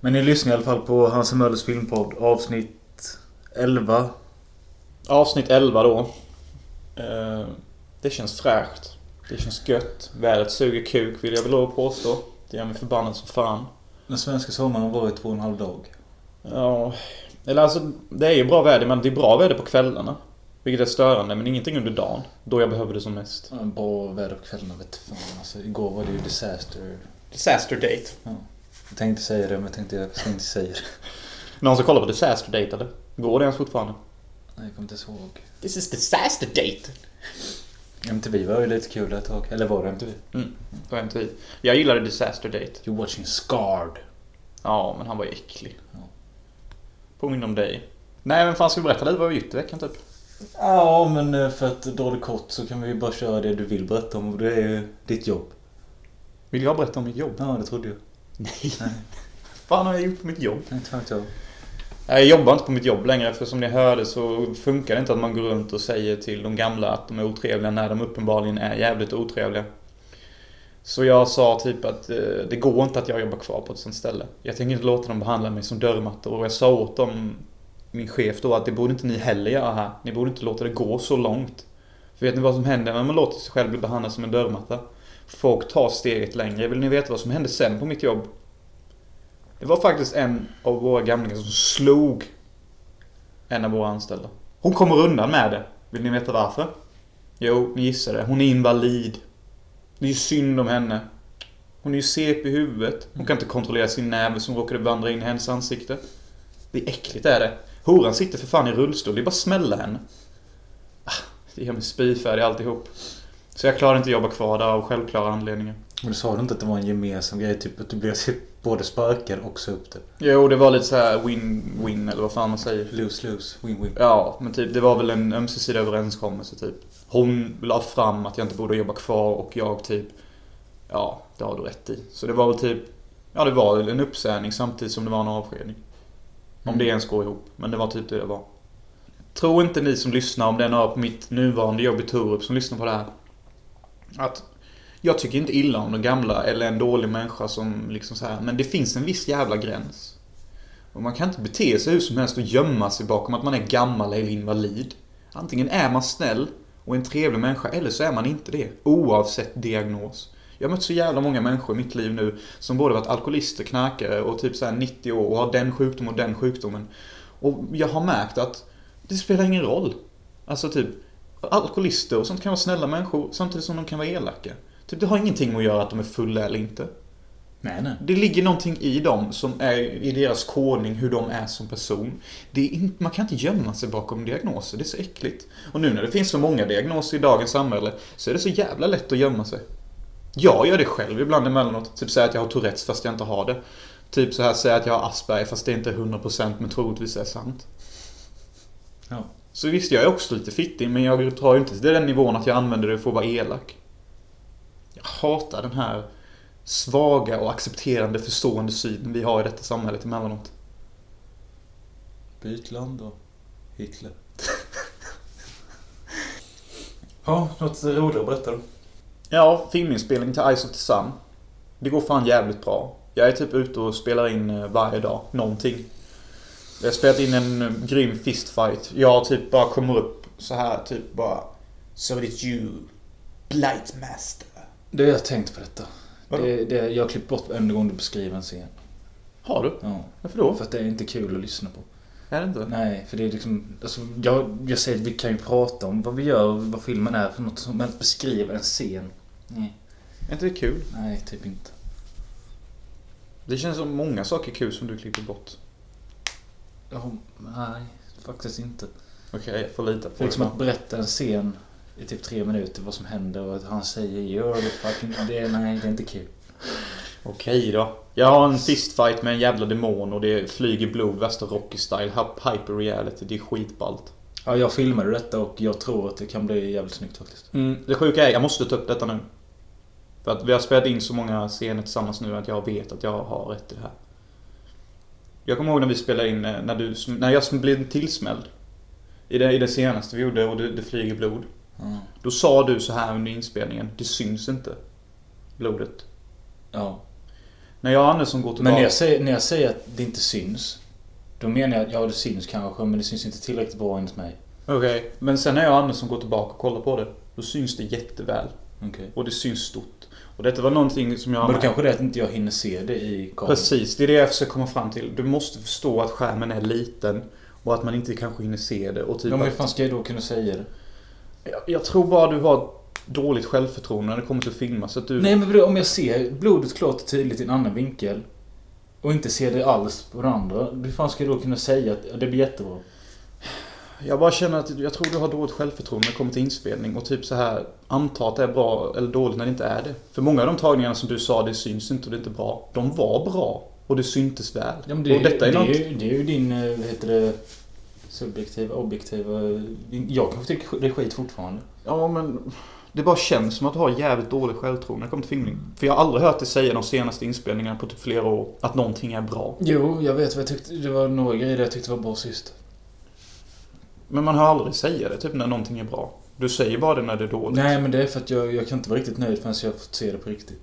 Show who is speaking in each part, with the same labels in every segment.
Speaker 1: Men ni lyssnar i alla fall på Hans Möllers filmpodd avsnitt 11.
Speaker 2: Avsnitt 11 då. Eh, det känns fräscht. Det känns gött. Vädret suger kuk vill jag väl lov att påstå. Det gör mig förbannad som fan.
Speaker 1: Den svenska sommaren var i två och en halv dag.
Speaker 2: Ja, eller alltså det är ju bra väder men det är bra väder på kvällarna. Vilket är störande men ingenting under dagen. Då jag behöver det som mest.
Speaker 1: Ja, Bra väder på kvällarna vet fan. Alltså, igår var det ju disaster.
Speaker 2: Disaster date.
Speaker 1: Jag tänkte säga det men jag tänkte jag ska inte säga det.
Speaker 2: Någon som kollar på disaster date eller? Går det ens fortfarande?
Speaker 1: Nej, jag kommer inte ihåg.
Speaker 2: This is disaster date.
Speaker 1: MTV var ju lite kul där ett tag. Eller var det MTV?
Speaker 2: På MTV. Jag gillade disaster date.
Speaker 1: You're watching Scarred.
Speaker 2: Ja, men han var ju äcklig.
Speaker 1: Ja.
Speaker 2: Påminner om dig. Nej, men fan ska vi berätta lite vad vi gjort i veckan typ?
Speaker 1: Ja, men eh, för att dra det kort så kan vi ju bara köra det du vill berätta om. och Det är ju ditt jobb.
Speaker 2: Vill jag berätta om mitt jobb?
Speaker 1: Ja, det trodde jag.
Speaker 2: Nej.
Speaker 1: Nej.
Speaker 2: fan har jag gjort på mitt jobb?
Speaker 1: Nej, Inte fan vet jag.
Speaker 2: Nej, Jag jobbar inte på mitt jobb längre för som ni hörde så funkar det inte att man går runt och säger till de gamla att de är otrevliga när de uppenbarligen är jävligt otrevliga. Så jag sa typ att eh, det går inte att jag jobbar kvar på ett sånt ställe. Jag tänker inte låta dem behandla mig som dörrmattor och jag sa åt dem, min chef då, att det borde inte ni heller göra här. Ni borde inte låta det gå så långt. För vet ni vad som händer när man låter sig själv bli behandlad som en dörrmatta? Folk tar steget längre. Vill ni veta vad som hände sen på mitt jobb? Det var faktiskt en av våra gamlingar som slog en av våra anställda. Hon kommer undan med det. Vill ni veta varför? Jo, ni gissar det. Hon är invalid. Det är ju synd om henne. Hon är ju CP i huvudet. Hon kan inte kontrollera sin näve som råkade vandra in i hennes ansikte. Det är äckligt är det. Horan sitter för fan i rullstol. Det är bara att smälla henne. Ah, Det gör mig spyfärdig alltihop. Så jag klarar inte att jobba kvar där av självklara anledningar.
Speaker 1: Men du sa du inte att det var en gemensam grej? Typ att du blev typ både sparkad och sa upp det.
Speaker 2: Jo, det var lite så här win-win eller vad fan man säger.
Speaker 1: Lose, lose, win, win.
Speaker 2: Ja, men typ det var väl en ömsesidig överenskommelse typ. Hon la fram att jag inte borde jobba kvar och jag typ, ja, det har du rätt i. Så det var väl typ, ja det var väl en uppsägning samtidigt som det var en avskedning. Om det ens går ihop, men det var typ det det var. Tror inte ni som lyssnar, om det är några på mitt nuvarande jobb i Torup som lyssnar på det här. Att jag tycker inte illa om de gamla eller en dålig människa som liksom så här, men det finns en viss jävla gräns. Och man kan inte bete sig hur som helst och gömma sig bakom att man är gammal eller invalid. Antingen är man snäll och en trevlig människa eller så är man inte det. Oavsett diagnos. Jag har mött så jävla många människor i mitt liv nu som både varit alkoholister, knarkare och typ så här 90 år och har den sjukdomen och den sjukdomen. Och jag har märkt att det spelar ingen roll. Alltså typ, alkoholister och sånt kan vara snälla människor samtidigt som de kan vara elaka. Typ det har ingenting med att göra att de är fulla eller inte.
Speaker 1: Nej, nej.
Speaker 2: Det ligger någonting i dem som är i deras kodning, hur de är som person. Det är in, man kan inte gömma sig bakom diagnoser, det är så äckligt. Och nu när det finns så många diagnoser i dagens samhälle så är det så jävla lätt att gömma sig. Jag gör det själv ibland emellanåt. Typ säga att jag har Tourettes fast jag inte har det. Typ så här säga att jag har Asperger fast det inte är 100% men troligtvis är sant.
Speaker 1: Ja.
Speaker 2: Så visst, jag är också lite fittig, men jag tar ju inte till den nivån att jag använder det för att vara elak. Jag hatar den här svaga och accepterande, förstående synen vi har i detta samhället emellanåt.
Speaker 1: Byt land och Hitler. ja, något roligare att berätta då.
Speaker 2: Ja, filminspelning till Eyes of the Sun. Det går fan jävligt bra. Jag är typ ute och spelar in eh, varje dag, någonting. Jag har spelat in en eh, grym fistfight. Jag typ bara kommer upp så här, typ bara... So it's you, Blightmaster.
Speaker 1: Du, jag har tänkt på detta.
Speaker 2: Vadå?
Speaker 1: Det, det, jag har klippt bort varenda gång du beskriver en scen.
Speaker 2: Har du?
Speaker 1: Ja.
Speaker 2: Varför då?
Speaker 1: För att det är inte kul att lyssna på.
Speaker 2: Är det inte?
Speaker 1: Nej, för det är liksom... Alltså, jag, jag säger att vi kan ju prata om vad vi gör och vad filmen är för något. som- Men att beskriva en scen. Nej,
Speaker 2: Är inte det kul?
Speaker 1: nej typ inte.
Speaker 2: Det känns som många saker kul som du klipper bort.
Speaker 1: Ja, nej, faktiskt inte.
Speaker 2: Okej, jag får lita
Speaker 1: För
Speaker 2: på
Speaker 1: liksom
Speaker 2: det.
Speaker 1: att berätta en scen i typ tre minuter vad som händer och att han säger gör det fucking... Det, är- nej, det är inte kul.
Speaker 2: Okej då. Jag har en fistfight med en jävla demon och det flyger blod, värsta Rocky-style, hy- hyper reality, det är skitballt.
Speaker 1: Ja, jag filmade detta och jag tror att det kan bli jävligt snyggt faktiskt.
Speaker 2: Mm, det sjuka är, jag måste ta upp detta nu. För att vi har spelat in så många scener tillsammans nu att jag vet att jag har rätt i det här. Jag kommer ihåg när vi spelade in, eh, när, du, när jag blev tillsmälld. I det, I det senaste vi gjorde och det, det flyger blod.
Speaker 1: Ja.
Speaker 2: Då sa du så här under inspelningen, det syns inte. Blodet.
Speaker 1: ja.
Speaker 2: När jag och Andersson går till
Speaker 1: Men när
Speaker 2: bar-
Speaker 1: jag, säger, när jag säger att det inte syns. Då menar jag att ja, det syns kanske, men det syns inte tillräckligt bra enligt mig.
Speaker 2: Okej, men sen när jag och Andersson går tillbaka och kollar på det, då syns det jätteväl.
Speaker 1: Okej.
Speaker 2: Och det syns stort. Och detta var någonting som jag...
Speaker 1: Men då kanske det är att inte jag hinner se det i kameran.
Speaker 2: Precis, det är det jag försöker komma fram till. Du måste förstå att skärmen är liten och att man inte kanske hinner se det. Och typ
Speaker 1: Ja, men hur
Speaker 2: att,
Speaker 1: fan ska jag då kunna säga det?
Speaker 2: jag, jag tror bara du har dåligt självförtroende när det kommer till att filma. Så att du...
Speaker 1: Nej men vadå, om jag ser blodet klart och tydligt i en annan vinkel. Och inte ser det alls på den andra. Hur fan ska jag då kunna säga att ja, det blir jättebra?
Speaker 2: Jag bara känner att jag tror du har dåligt självförtroende när det kommer till inspelning och typ så här anta att det är bra eller dåligt när det inte är det. För många av de tagningarna som du sa, det syns inte och det är inte bra. De var bra och det syntes väl.
Speaker 1: Ja, men det,
Speaker 2: och detta är
Speaker 1: det,
Speaker 2: något...
Speaker 1: är ju, det är ju din, eh, vad heter det, subjektiva, objektiva... Jag kanske tycker det är skit fortfarande.
Speaker 2: Ja, men det bara känns som att du har jävligt dåligt självförtroende när det kommer till filmning. För jag har aldrig hört dig säga de senaste inspelningarna på typ flera år att någonting är bra.
Speaker 1: Jo, jag vet vad jag tyckte. Det var några grejer jag tyckte var bra sist.
Speaker 2: Men man hör aldrig säga det typ när någonting är bra. Du säger bara det när det är dåligt.
Speaker 1: Nej, men det är för att jag, jag kan inte vara riktigt nöjd förrän jag har fått se det på riktigt.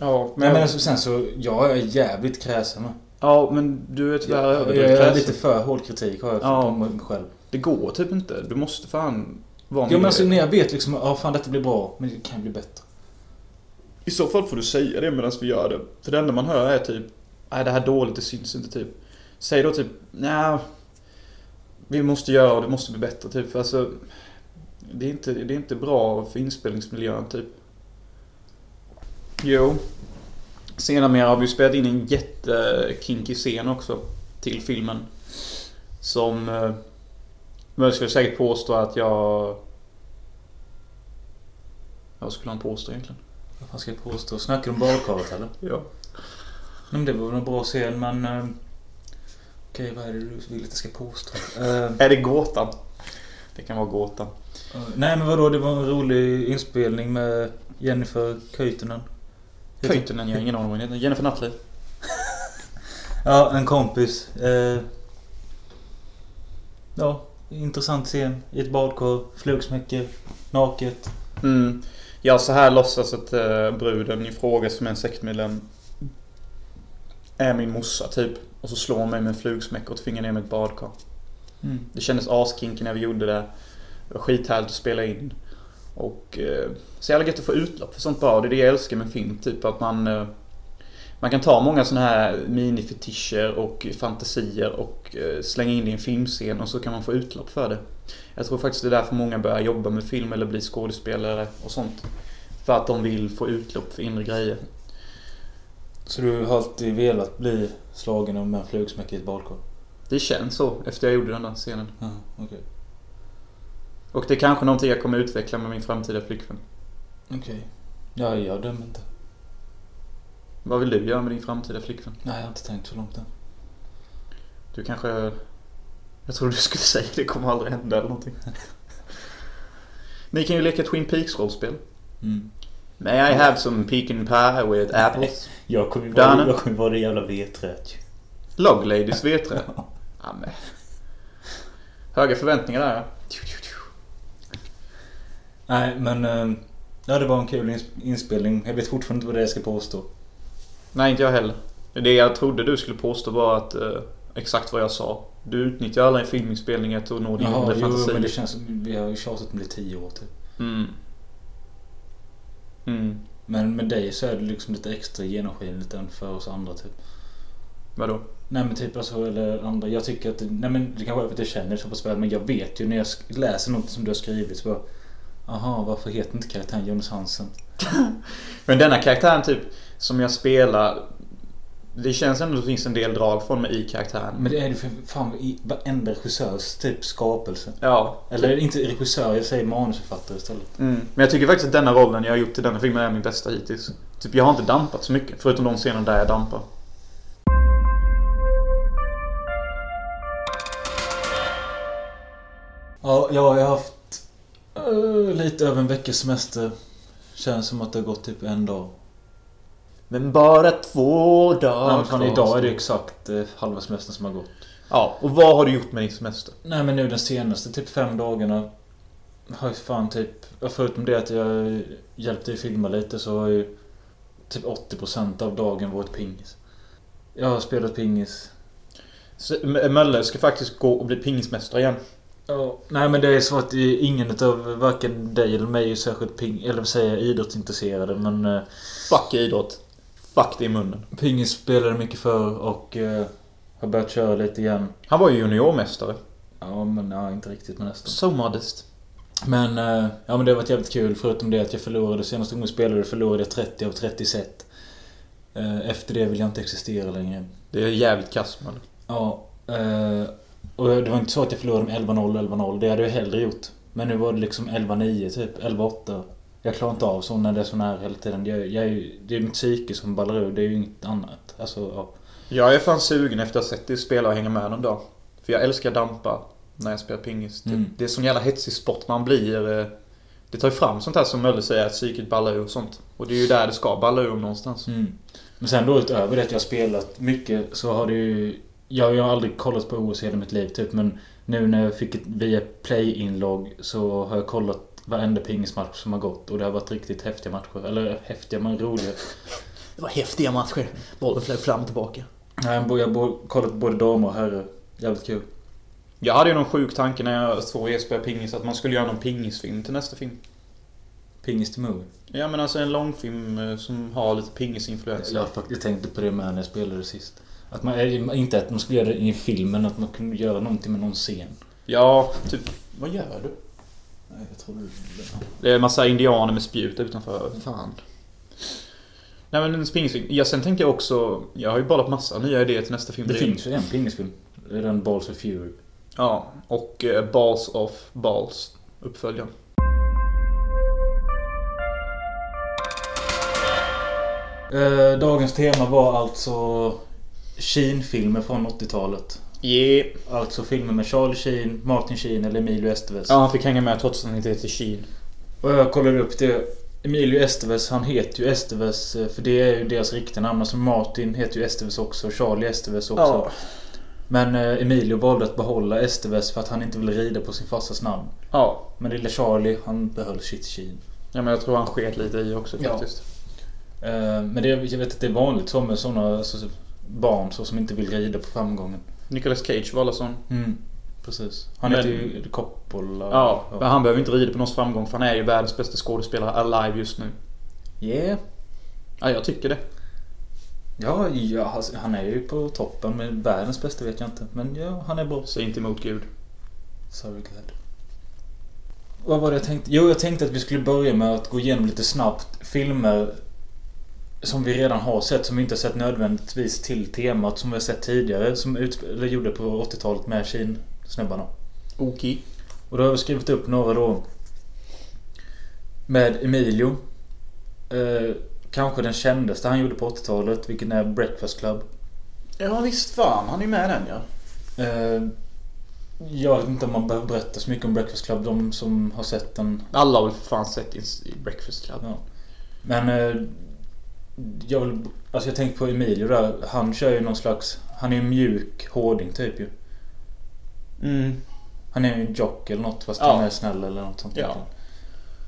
Speaker 2: Ja,
Speaker 1: Men, men alltså, sen så, jag är jävligt kräsen.
Speaker 2: ja, men du är tyvärr
Speaker 1: Jag, jag
Speaker 2: överdrivet
Speaker 1: är
Speaker 2: kräsen.
Speaker 1: lite för hård kritik har jag
Speaker 2: Ja.
Speaker 1: på mig själv.
Speaker 2: Det går typ inte. Du måste fan vara
Speaker 1: Ja, men
Speaker 2: med.
Speaker 1: alltså när jag vet liksom, ja fan detta blir bra, men det kan bli bättre.
Speaker 2: I så fall får du säga det medan vi gör det. För det enda man hör är typ Nej det här är dåligt, det syns inte typ. Säg då typ nej Vi måste göra och det måste bli bättre typ. För alltså det är, inte, det är inte bra för inspelningsmiljön typ. Jo. Senare har vi spelat in en jättekinkig scen också. Till filmen. Som... eh, Men jag skulle säkert påstå att jag... Vad skulle han påstå egentligen?
Speaker 1: Vad fan ska jag påstå? Snackar du om badkaret eller?
Speaker 2: Ja.
Speaker 1: Nej, men det var väl en bra scen, men... Eh, Okej, vad är det du vill att jag ska påstå? Eh,
Speaker 2: Är det gåtan? Det kan vara gåtan.
Speaker 1: Eh, Nej men vadå, det var en rolig inspelning med Jennifer Köytönen. Heter-
Speaker 2: Pöjten, jag har ingen aning om vad den heter. Jennifer Nutley.
Speaker 1: Ja, en kompis. Eh, ja, intressant scen. I ett badkar, flugsmäcke, naket.
Speaker 2: Mm. Ja, så här låtsas att eh, bruden i fråga som är en sektmedlem är min morsa typ. Och så slår hon mig med en flugsmäck och tvingar ner mig i ett badkar.
Speaker 1: Mm.
Speaker 2: Det kändes askinkigt när vi gjorde det. Det var skithärligt att spela in. Och eh, så jävla gött att få utlopp för sånt bra. Det är det jag älskar med film. Typ att man... Eh, man kan ta många såna här minifetischer och fantasier och eh, slänga in det i en filmscen och så kan man få utlopp för det. Jag tror faktiskt det är därför många börjar jobba med film eller bli skådespelare och sånt. För att de vill få utlopp för inre grejer.
Speaker 1: Så du har alltid velat bli slagen av en flugsmäcke i ett badkar?
Speaker 2: Det känns så efter jag gjorde den där scenen.
Speaker 1: Ja, okej.
Speaker 2: Och det är kanske någonting jag kommer utveckla med min framtida flickvän.
Speaker 1: Okej. Ja, jag dömer inte.
Speaker 2: Vad vill du göra med din framtida flickvän?
Speaker 1: Nej, jag har inte tänkt så långt än.
Speaker 2: Du kanske... Jag trodde du skulle säga det kommer aldrig hända eller någonting. Ni kan ju leka Twin Peaks rollspel.
Speaker 1: Mm.
Speaker 2: May I have some pecan pie with apples?
Speaker 1: Jag kommer ju
Speaker 2: Danne?
Speaker 1: vara, jag kommer vara det jävla veträtt ju.
Speaker 2: Log ladies vet det. Ja, men. Höga förväntningar där ja.
Speaker 1: Nej, men... eh, Ja, det var en kul ins- inspelning. Jag vet fortfarande inte vad det är jag ska påstå.
Speaker 2: Nej, inte jag heller. Det jag trodde du skulle påstå var att eh, exakt vad jag sa. Du utnyttjar alla filminspelningar till att nå din
Speaker 1: Jaha,
Speaker 2: inre
Speaker 1: jo,
Speaker 2: fantasi.
Speaker 1: men det känns som vi har ju tjatat om det i tio år typ.
Speaker 2: Mm. Mm.
Speaker 1: Men med dig så är det liksom lite extra genomskinligt än för oss andra typ.
Speaker 2: Vadå?
Speaker 1: Nej men typ alltså, eller andra. Jag tycker att, det- nej men det kanske är för att jag känner det så pass väl. Men jag vet ju när jag sk- läser något som du har skrivit så bara. Aha, varför heter inte karaktären Jonas Hansen?
Speaker 2: Men denna karaktären typ, som jag spelar. Det känns ändå att det finns en del drag från mig i karaktären.
Speaker 1: Men det är det för fan i varenda regissörs typ skapelse.
Speaker 2: Ja.
Speaker 1: Eller inte regissör, jag säger manusförfattare istället.
Speaker 2: Mm. Men jag tycker faktiskt att denna rollen jag har gjort i denna filmen är min bästa hittills. Typ jag har inte dampat så mycket, förutom de scener där jag dampar.
Speaker 1: Ja, jag har ju haft eh, lite över en veckas semester. Känns som att det har gått typ en dag.
Speaker 2: Men bara två
Speaker 1: Ja,
Speaker 2: dagar
Speaker 1: men fan, idag är det exakt eh, halva semestern som har gått.
Speaker 2: Ja, och vad har du gjort med din semester?
Speaker 1: Nej men nu den senaste typ fem dagarna har ju fan typ... ja, Förutom det att jag hjälpte dig filma lite så har jag ju typ 80% av dagen varit pingis. Jag har spelat pingis.
Speaker 2: Så, M- Mölle ska faktiskt gå och bli pingismästare igen.
Speaker 1: Ja, nej men det är så att i- ingen utav varken dig eller mig är särskilt ping, eller vad säger jag, idrottsintresserade men eh,
Speaker 2: Fuck idrott. Fuck det i munnen.
Speaker 1: pingis spelade mycket förr och eh, har börjat köra lite igen.
Speaker 2: Han var ju juniormästare.
Speaker 1: Ja men ja, inte riktigt men nästan.
Speaker 2: So modest.
Speaker 1: Men, eh, ja men det har varit jävligt kul förutom det att jag förlorade. Senaste gången jag spelade förlorade jag 30 av 30 set. Eh, Efter det vill jag inte existera längre.
Speaker 2: Det är jävligt kass Mölle.
Speaker 1: Ja. eh, Och det var inte så att jag förlorade med 11-0, 11-0. Det hade jag hellre gjort. Men nu var det liksom 11-9, typ 11-8. Jag klarar inte av så när det är så nära hela tiden. Jag, jag, är ju- det är mitt psyke som ballar ur. Det är ju inget annat. Alltså, ja.
Speaker 2: Jag är fan sugen efter att ha sett dig spela och hänga med någon dag. För jag älskar dampa när jag spelar pingis. Det,
Speaker 1: Mm.
Speaker 2: det är sån jävla hetsig sport man blir. eh, Det tar ju fram sånt här som Mölle säger, att psyket ballar ur och sånt. Och det är ju där det ska balla ur någonstans.
Speaker 1: Mm. Men sen då utöver det att jag har spelat mycket så har det ju... Jag, jag har aldrig kollat på OS i hela mitt liv typ men nu när jag fick ett via play-inlogg så har jag kollat varenda pingismatch som har gått och det har varit riktigt häftiga matcher. Eller häftiga men roliga.
Speaker 2: Det var häftiga matcher. Bollen flög fram och tillbaka.
Speaker 1: Nej, Jag har jag har kollat både damer och herrar. Jävligt kul.
Speaker 2: Jag hade ju någon sjuk tanke när jag såg er spela pingis att man skulle göra någon pingisfilm till nästa film.
Speaker 1: Pingis till movie.
Speaker 2: Ja men alltså en långfilm eh, som har lite pingisinfluenser.
Speaker 1: Jag, har faktiskt tänkte på det med när jag spelade sist. Att man, eh, inte att man skulle göra det i filmen, att man kunde göra någonting med någon scen.
Speaker 2: Ja, typ... Vad gör du?
Speaker 1: Nej, jag tror
Speaker 2: Det är en massa indianer med spjut utanför. Fan. Nej men en pingisfilm. Ja sen tänkte jag också... Jag har ju bollat massa nya idéer till nästa film.
Speaker 1: Det
Speaker 2: redan.
Speaker 1: finns ju en pingisfilm. Det är den Balls of Fury.
Speaker 2: Ja, och eh, Balls of Balls. Uppföljaren.
Speaker 1: Eh, dagens tema var alltså Sheen-filmer från 80-talet.
Speaker 2: Yeah.
Speaker 1: Alltså filmer med Charlie Sheen, Martin Sheen eller Emilio Estevez.
Speaker 2: Ja, han fick hänga med trots att han inte heter Sheen.
Speaker 1: Och jag kollade upp det. Emilio Estevez, han heter ju Estevez eh, för det är ju deras riktiga namn. Alltså Martin heter ju Estevez också och Charlie Estevez också.
Speaker 2: Ja.
Speaker 1: Men eh, Emilio valde att behålla Estevez för att han inte ville rida på sin farsas namn.
Speaker 2: Ja.
Speaker 1: Men lille Charlie, han behöll sitt Sheen.
Speaker 2: Ja men jag tror han sket lite i också
Speaker 1: Ja.
Speaker 2: faktiskt.
Speaker 1: Eh, men det, jag vet att det är vanligt så med sådana alltså, barn så, som inte vill rida på framgången.
Speaker 2: Nicolas Cage valde sån.
Speaker 1: Mm, precis. Han
Speaker 2: Men-
Speaker 1: heter ju Coppola.
Speaker 2: Ja, men han behöver inte rida på någons framgång för han är ju världens bästa skådespelare alive just nu.
Speaker 1: Yeah.
Speaker 2: Ja, jag tycker det.
Speaker 1: Ja, ja, alltså, han är ju på toppen. Men världens bästa vet jag inte. Men ja, han är bra.
Speaker 2: Säg inte emot Gud.
Speaker 1: Sorry glad. Vad var det jag tänkte? Jo, jag tänkte att vi skulle börja med att gå igenom lite snabbt filmer som vi redan har sett, som vi inte har sett nödvändigtvis till temat som vi har sett tidigare, som utsp- eller gjorde på 80-talet med Kina-snubbarna.
Speaker 2: Okej.
Speaker 1: Och då har vi skrivit upp några då. Med Emilio. Eh, kanske den kändaste han gjorde på 80-talet, vilken är Breakfast Club.
Speaker 2: Ja visst fan, han är ju med i den ja.
Speaker 1: Eh, jag vet inte om man behöver berätta så mycket om Breakfast Club, de som har sett den.
Speaker 2: Alla har väl för fan sett Ins- i Breakfast Club.
Speaker 1: Ja. Men eh, jag vill, alltså jag tänker på Emilio där. Han kör ju någon slags, han är en mjuk hårding typ ju.
Speaker 2: Mm.
Speaker 1: Han är ju en jock eller något fast
Speaker 2: Ja.
Speaker 1: han är snäll eller något sånt.
Speaker 2: Ja.
Speaker 1: egentligen.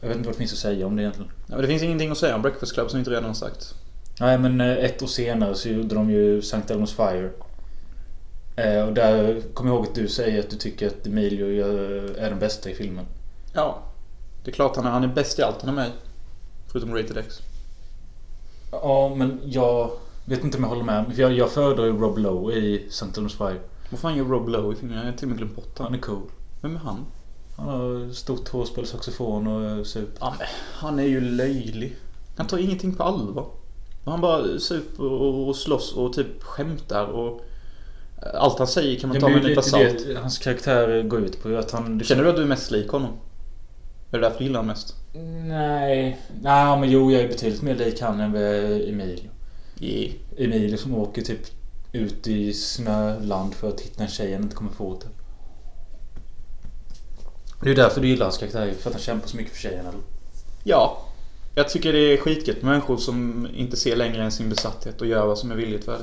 Speaker 1: Jag vet inte vad det finns att säga om det egentligen.
Speaker 2: Ja, men det finns ingenting att säga om Breakfast Club som inte redan har sagt.
Speaker 1: Nej men eh, ett år senare så gjorde de ju St. Elmo's Fire. Eh, och där kommer jag ihåg att du säger att du tycker att Emilio gör- är den bästa i filmen.
Speaker 2: Ja. Det är klart han är, han är bäst i allt han är med i. Förutom Rated X.
Speaker 1: Ja men jag vet inte om jag håller med. För jag, jag föredrar ju Rob Lowe i St. Elmo's Fire.
Speaker 2: Vad fan gör Rob Lowe i filmen? Jag har till och med glömt bort
Speaker 1: Han
Speaker 2: han.
Speaker 1: är cool.
Speaker 2: Vem är han?
Speaker 1: Han har stort hår, spelar saxofon och eh, super.
Speaker 2: Ja, men han är ju löjlig. Han tar ingenting på allvar. Och Han bara super och och slåss och typ skämtar och... eh, Allt han säger kan man ta
Speaker 1: det
Speaker 2: med en
Speaker 1: är ju
Speaker 2: nypa
Speaker 1: lite
Speaker 2: salt.
Speaker 1: det hans karaktär går ut på. Att han...
Speaker 2: Känner du att du är mest lik honom? Är det därför du gillar honom mest?
Speaker 1: Nej. Nej men jo, jag är betydligt mer lik han än vad jag är Emilio.
Speaker 2: Yeah.
Speaker 1: Emilio som åker typ ut i snöland för att hitta en tjej han inte kommer få typ. Det är ju därför du gillar hans karaktär för att han kämpar så mycket för tjejen eller?
Speaker 2: Ja. Jag tycker det är skitgött med människor som inte ser längre än sin besatthet och gör vad som är villigt för det.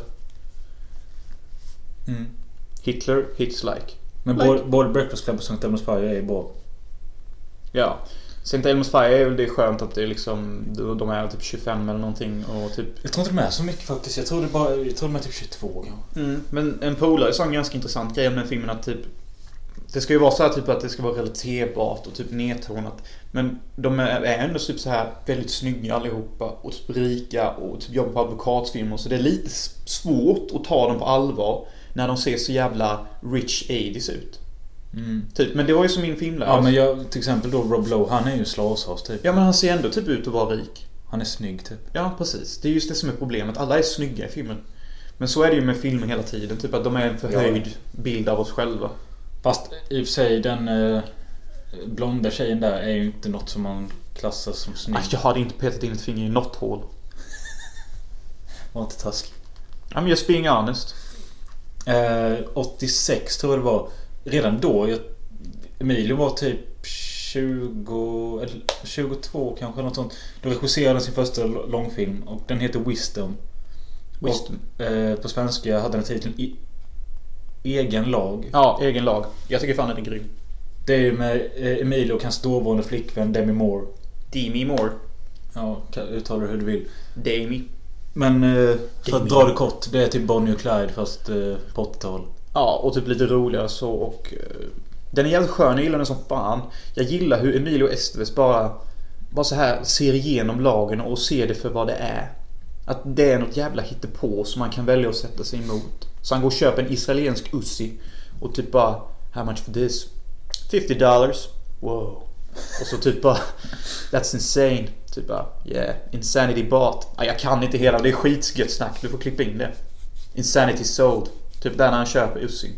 Speaker 2: Hitler hits like.
Speaker 1: Men
Speaker 2: Like.
Speaker 1: både, både Breakfast Club och St. Elmo's Fire är bra.
Speaker 2: Ja. St. Elmo's Fire är väl det är skönt att det är liksom, de är typ 25 eller någonting och typ
Speaker 1: Jag tror inte de är så mycket faktiskt. Jag tror, det bara, jag tror de är typ 22 kanske.
Speaker 2: Mm, men en polare sa en ganska intressant grej om den filmen att typ Det ska ju vara så här typ att det ska vara relaterbart och typ nedtonat Men de är är ändå typ så här väldigt snygga allihopa och typ rika och typ jobbar på advokatfirmor så det är lite s- svårt att ta dem på allvar När de ser så jävla rich 80s ut Typ, men det var ju som min filmlärare
Speaker 1: Ja men jag, till exempel då Rob Lowe, han är ju slashas typ.
Speaker 2: ja men han ser ändå typ ut att vara rik
Speaker 1: Han är snygg typ.
Speaker 2: Ja, precis. Det är just det som är problemet. Alla är snygga i filmen. Men så är det ju med filmer hela tiden. Typ att de är en förhöjd bild av oss själva.
Speaker 1: Fast i och för sig den eh, blonda tjejen där är ju inte något som man klassar som snygg.
Speaker 2: Aj, jag hade inte petat in ett finger i något hål.
Speaker 1: Var inte taskig.
Speaker 2: I'm just being honest.
Speaker 1: Eh, 86 tror jag det var. Redan då, jag, Emilio var typ 20, eller 22 kanske något sånt. Då regisserade han sin första l- långfilm och den heter Wisdom.
Speaker 2: Wisdom.
Speaker 1: Och, eh, på svenska hade den titeln I, Egen lag.
Speaker 2: Ja, egen lag. Jag tycker fan den är grym.
Speaker 1: Det är ju med eh, Emilio och hans dåvarande flickvän Demi Moore.
Speaker 2: Demi Moore.
Speaker 1: Ja, kan- uttala det hur du vill.
Speaker 2: Demi.
Speaker 1: Men eh, för
Speaker 2: Demi.
Speaker 1: att dra det kort, det är typ Bonnie och Clyde fast eh, på 80-tal.
Speaker 2: Ja, och typ lite roligare så och... eh, Den är jävligt skön, jag gillar den som fan. Jag gillar hur Emilio Estevez bara... Bara så här ser igenom lagen och ser det för vad det är. Att det är något jävla hittepå som man kan välja att sätta sig emot. Så han går och köper en israelisk Uzi och typ bara... How much for this? 50 dollars? Wow. Och så typ bara... That's insane. Typ bara... Yeah. Insanity bought. Ja, jag kan inte hela, det är skitgött snack. Du får klippa in det. Insanity sold. Typ där när han köper Uzi.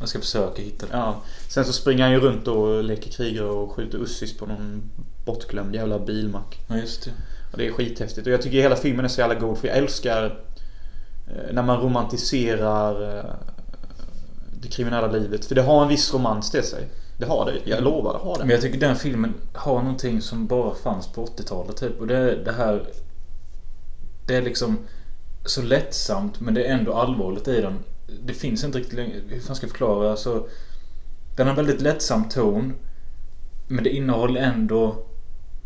Speaker 1: Jag ska försöka hitta det.
Speaker 2: Ja. Sen så springer han ju runt och leker krigare och skjuter Uzis på någon bortglömd jävla bilmack.
Speaker 1: Ja, just det.
Speaker 2: Och det är skithäftigt. Och jag tycker hela filmen är så jävla god för jag älskar eh, när man romantiserar eh, det kriminella livet. För det har en viss romans till sig. Det har det. Jag lovar, det har
Speaker 1: Men
Speaker 2: det.
Speaker 1: jag tycker den filmen har någonting som bara fanns på 80-talet typ. Och det är det här... Det är liksom så lättsamt men det är ändå allvarligt i den. Det finns inte riktigt längre... Hur fan ska jag förklara? Alltså, den har en väldigt lättsam ton. Men det innehåller ändå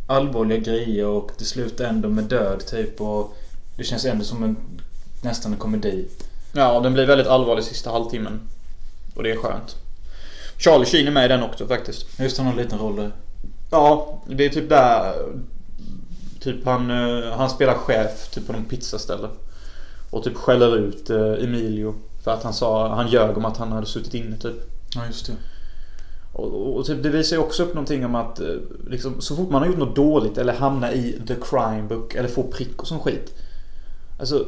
Speaker 1: allvarliga grejer och det slutar ändå med död typ. Och det känns ändå som en nästan en komedi.
Speaker 2: Ja, och den blir väldigt allvarlig sista halvtimmen. Och det är skönt. Charlie Sheen är med i den också faktiskt.
Speaker 1: Just han har en liten roll där.
Speaker 2: Ja, det är typ där... Typ han, eh, han spelar chef typ på någon pizzaställe. Och typ skäller ut eh, Emilio. För att han sa, han ljög om att han hade suttit inne typ.
Speaker 1: Ja, just det.
Speaker 2: Och, och, och typ, det visar ju också upp någonting om att eh, liksom, så fort man har gjort något dåligt eller hamnar i the crime book eller får prick och sån skit. Alltså,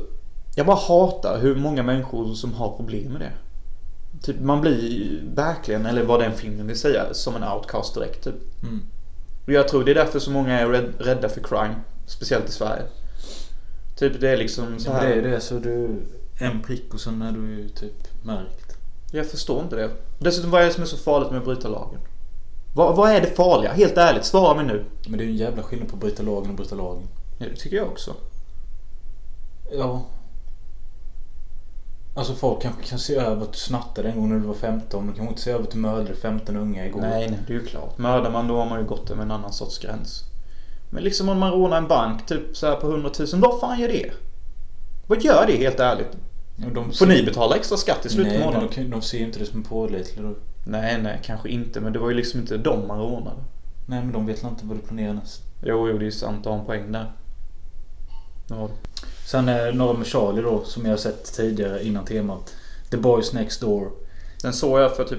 Speaker 2: jag bara hatar hur många människor som har problem med det. Typ, man blir ju verkligen, eller vad den filmen vill säga, som en outcast direkt typ.
Speaker 1: Mm.
Speaker 2: Och jag tror det är därför så många är rädd- rädda för crime. Speciellt i Sverige. Typ det är liksom så
Speaker 1: Ja, men det är
Speaker 2: här.
Speaker 1: det. Så du... En prick och sen är du ju typ märkt.
Speaker 2: Jag förstår inte det. Dessutom, vad är det som är så farligt med att bryta lagen? Vad, vad är det farliga? Helt ärligt, svara mig nu.
Speaker 1: Men det är ju en jävla skillnad på att bryta lagen och bryta lagen.
Speaker 2: Ja, Det tycker jag också.
Speaker 1: Ja. Alltså folk kanske kan se över att du snattade en gång när du var 15 men kanske inte se över att du mördade 15 unga igår.
Speaker 2: Nej, nej, det är ju klart. Mördar man då har man ju gått över en annan sorts gräns. Men liksom om man rånar en bank typ så här på 100 000, vad fan gör det? Vad gör det helt ärligt?
Speaker 1: Och De
Speaker 2: Får ni betala extra skatt i slutet
Speaker 1: Nej,
Speaker 2: av
Speaker 1: men
Speaker 2: månaden?
Speaker 1: de, kan- de ser ju inte det som pålitligt. då.
Speaker 2: Nej, nej, kanske inte. Men det var ju liksom inte dem man rånade.
Speaker 1: Nej men de vet väl inte vad du planerar nästa.
Speaker 2: Jo, jo, det är sant. Du har en poäng där. Ja.
Speaker 1: Sen är några med Charlie då som jag har sett tidigare innan temat. The Boys Next Door.
Speaker 2: Den såg jag för typ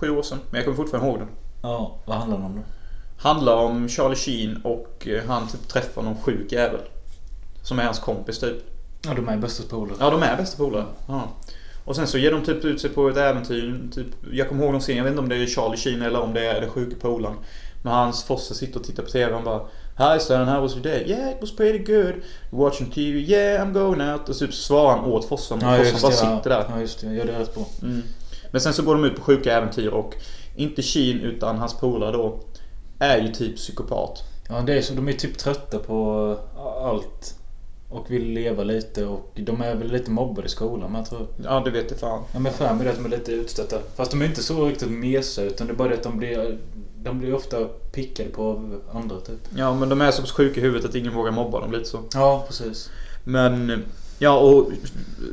Speaker 2: sju år sedan, men jag kommer fortfarande ihåg den.
Speaker 1: Ja, vad handlar den om då?
Speaker 2: Handlar om Charlie Sheen och eh, han typ träffar någon sjuk jävel. Som är hans kompis typ.
Speaker 1: Ja, de är bästa polare.
Speaker 2: Ja, de är bästa polare. Ja. Och sen så ger de typ ut sig på ett äventyr. Typ, jag kommer ihåg någon scen, jag vet inte om det är Charlie Sheen eller om det är den sjuke polaren. Men hans fosse sitter och tittar på TV och han bara Hi son, how was your day? Yeah, it was pretty good. Watching TV, yeah, I'm going out. Och typ så svarar han åt fossen. och fossen bara sitter där.
Speaker 1: Ja, just det. Ja, det är rätt bra.
Speaker 2: Mm. Men sen så går de ut på sjuka äventyr och inte Sheen utan hans polare då är ju typ psykopat.
Speaker 1: Ja, det är så. De är typ trötta på eh, allt. Och vill leva lite och de är väl lite mobbade i skolan men jag tror...
Speaker 2: Ja, det vet jag fan.
Speaker 1: Ja men för mig är det att de är lite utstötta. Fast de är inte så riktigt mesiga utan det är bara det att de blir... de blir ju ofta pickade på av andra typ.
Speaker 2: Ja, men de är så pass sjuka i huvudet att ingen vågar mobba dem lite så.
Speaker 1: Ja, precis.
Speaker 2: Men... Ja, och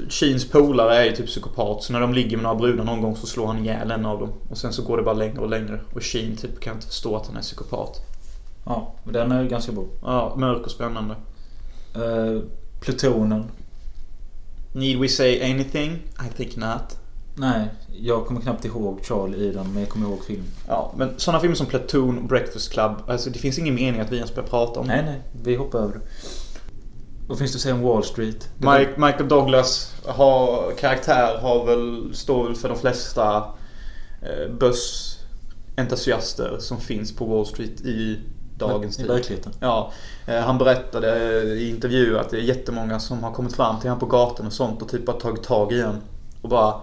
Speaker 2: Sheens polare är ju typ psykopat. Så när de ligger med några brudar någon gång så slår han ihjäl en av dem. Och sen så går det bara längre och längre. Och Sheen typ kan inte förstå att han är psykopat.
Speaker 1: Ja, men den är ju ganska bra.
Speaker 2: Ja, mörk och spännande.
Speaker 1: Eh, plutonen.
Speaker 2: Need we say anything? I think not.
Speaker 1: Nej, jag kommer knappt ihåg Charlie i den, men jag kommer ihåg filmen.
Speaker 2: Ja, men sådana filmer som Platoon och Breakfast Club. Alltså det finns ingen mening att vi ens börjar prata om.
Speaker 1: Nej, nej. Vi hoppar över det. Vad finns det att säga om Wall Street? Det
Speaker 2: Mike, Michael Douglas har, karaktär har väl, står väl för de flesta eh, börsentusiaster som finns på Wall Street i
Speaker 1: var-
Speaker 2: dagens
Speaker 1: I
Speaker 2: tid.
Speaker 1: verkligheten.
Speaker 2: Ja, eh, han berättade i intervjuer att det är jättemånga som har kommit fram till honom på gatan och sånt och typ bara tagit tag i honom. Och bara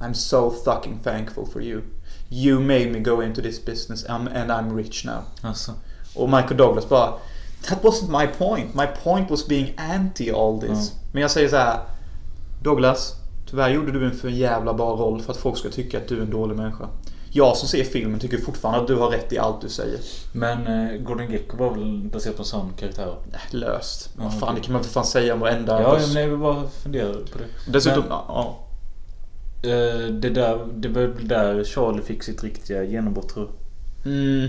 Speaker 2: I'm so fucking thankful for you. You made me go into this business I'm, and I'm rich now.
Speaker 1: Alltså.
Speaker 2: Och Michael Douglas bara That wasn't my point. My point was being anti all this. Men jag säger så här Douglas, tyvärr gjorde du en för jävla bra roll för att folk ska tycka att du är en dålig människa. Jag som ser filmen tycker fortfarande att du har rätt i allt du säger.
Speaker 1: Men eh, Gordon Gekko var väl baserat på en sån karaktär?
Speaker 2: Äh, Löst.
Speaker 1: Ja,
Speaker 2: Vad fan,
Speaker 1: okej.
Speaker 2: det kan man för fan säga om varenda
Speaker 1: Ja,
Speaker 2: buss.
Speaker 1: men jag bara funderar på det.
Speaker 2: Dessutom,
Speaker 1: Men-
Speaker 2: ja, ja.
Speaker 1: Eh, det, där, det var väl där Charlie fick sitt riktiga genombrott tror jag.
Speaker 2: Mm.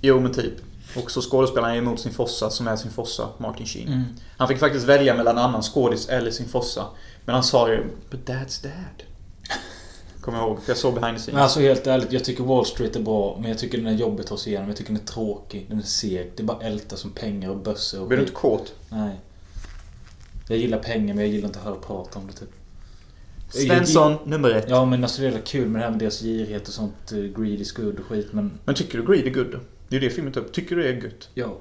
Speaker 2: Jo, men typ. Och så skådespelaren är emot sin fossa som är sin fossa, Martin Sheen.
Speaker 1: Mm.
Speaker 2: Han fick faktiskt välja mellan annan skådis eller sin fossa. Men han sa ju “But that's dad”. Kommer jag ihåg, för jag såg behind the
Speaker 1: Men
Speaker 2: scenes.
Speaker 1: alltså helt ärligt, jag tycker Wall Street är bra. Men jag tycker den är jobbig att ta sig igenom. Jag tycker den är tråkig. Den är seg. Det är bara älta som pengar och bössor och
Speaker 2: Blir du
Speaker 1: skit.
Speaker 2: inte kåt?
Speaker 1: Nej. Jag gillar pengar men jag gillar inte att höra prata om det typ.
Speaker 2: Svensson, nummer ett.
Speaker 1: Ja men alltså det är väl kul med det här med deras girighet och sånt. eh, Greed is good och skit men...
Speaker 2: Men tycker du Greed är good? Det är ju det filmen tar upp. Tycker du det är gött?
Speaker 1: Ja.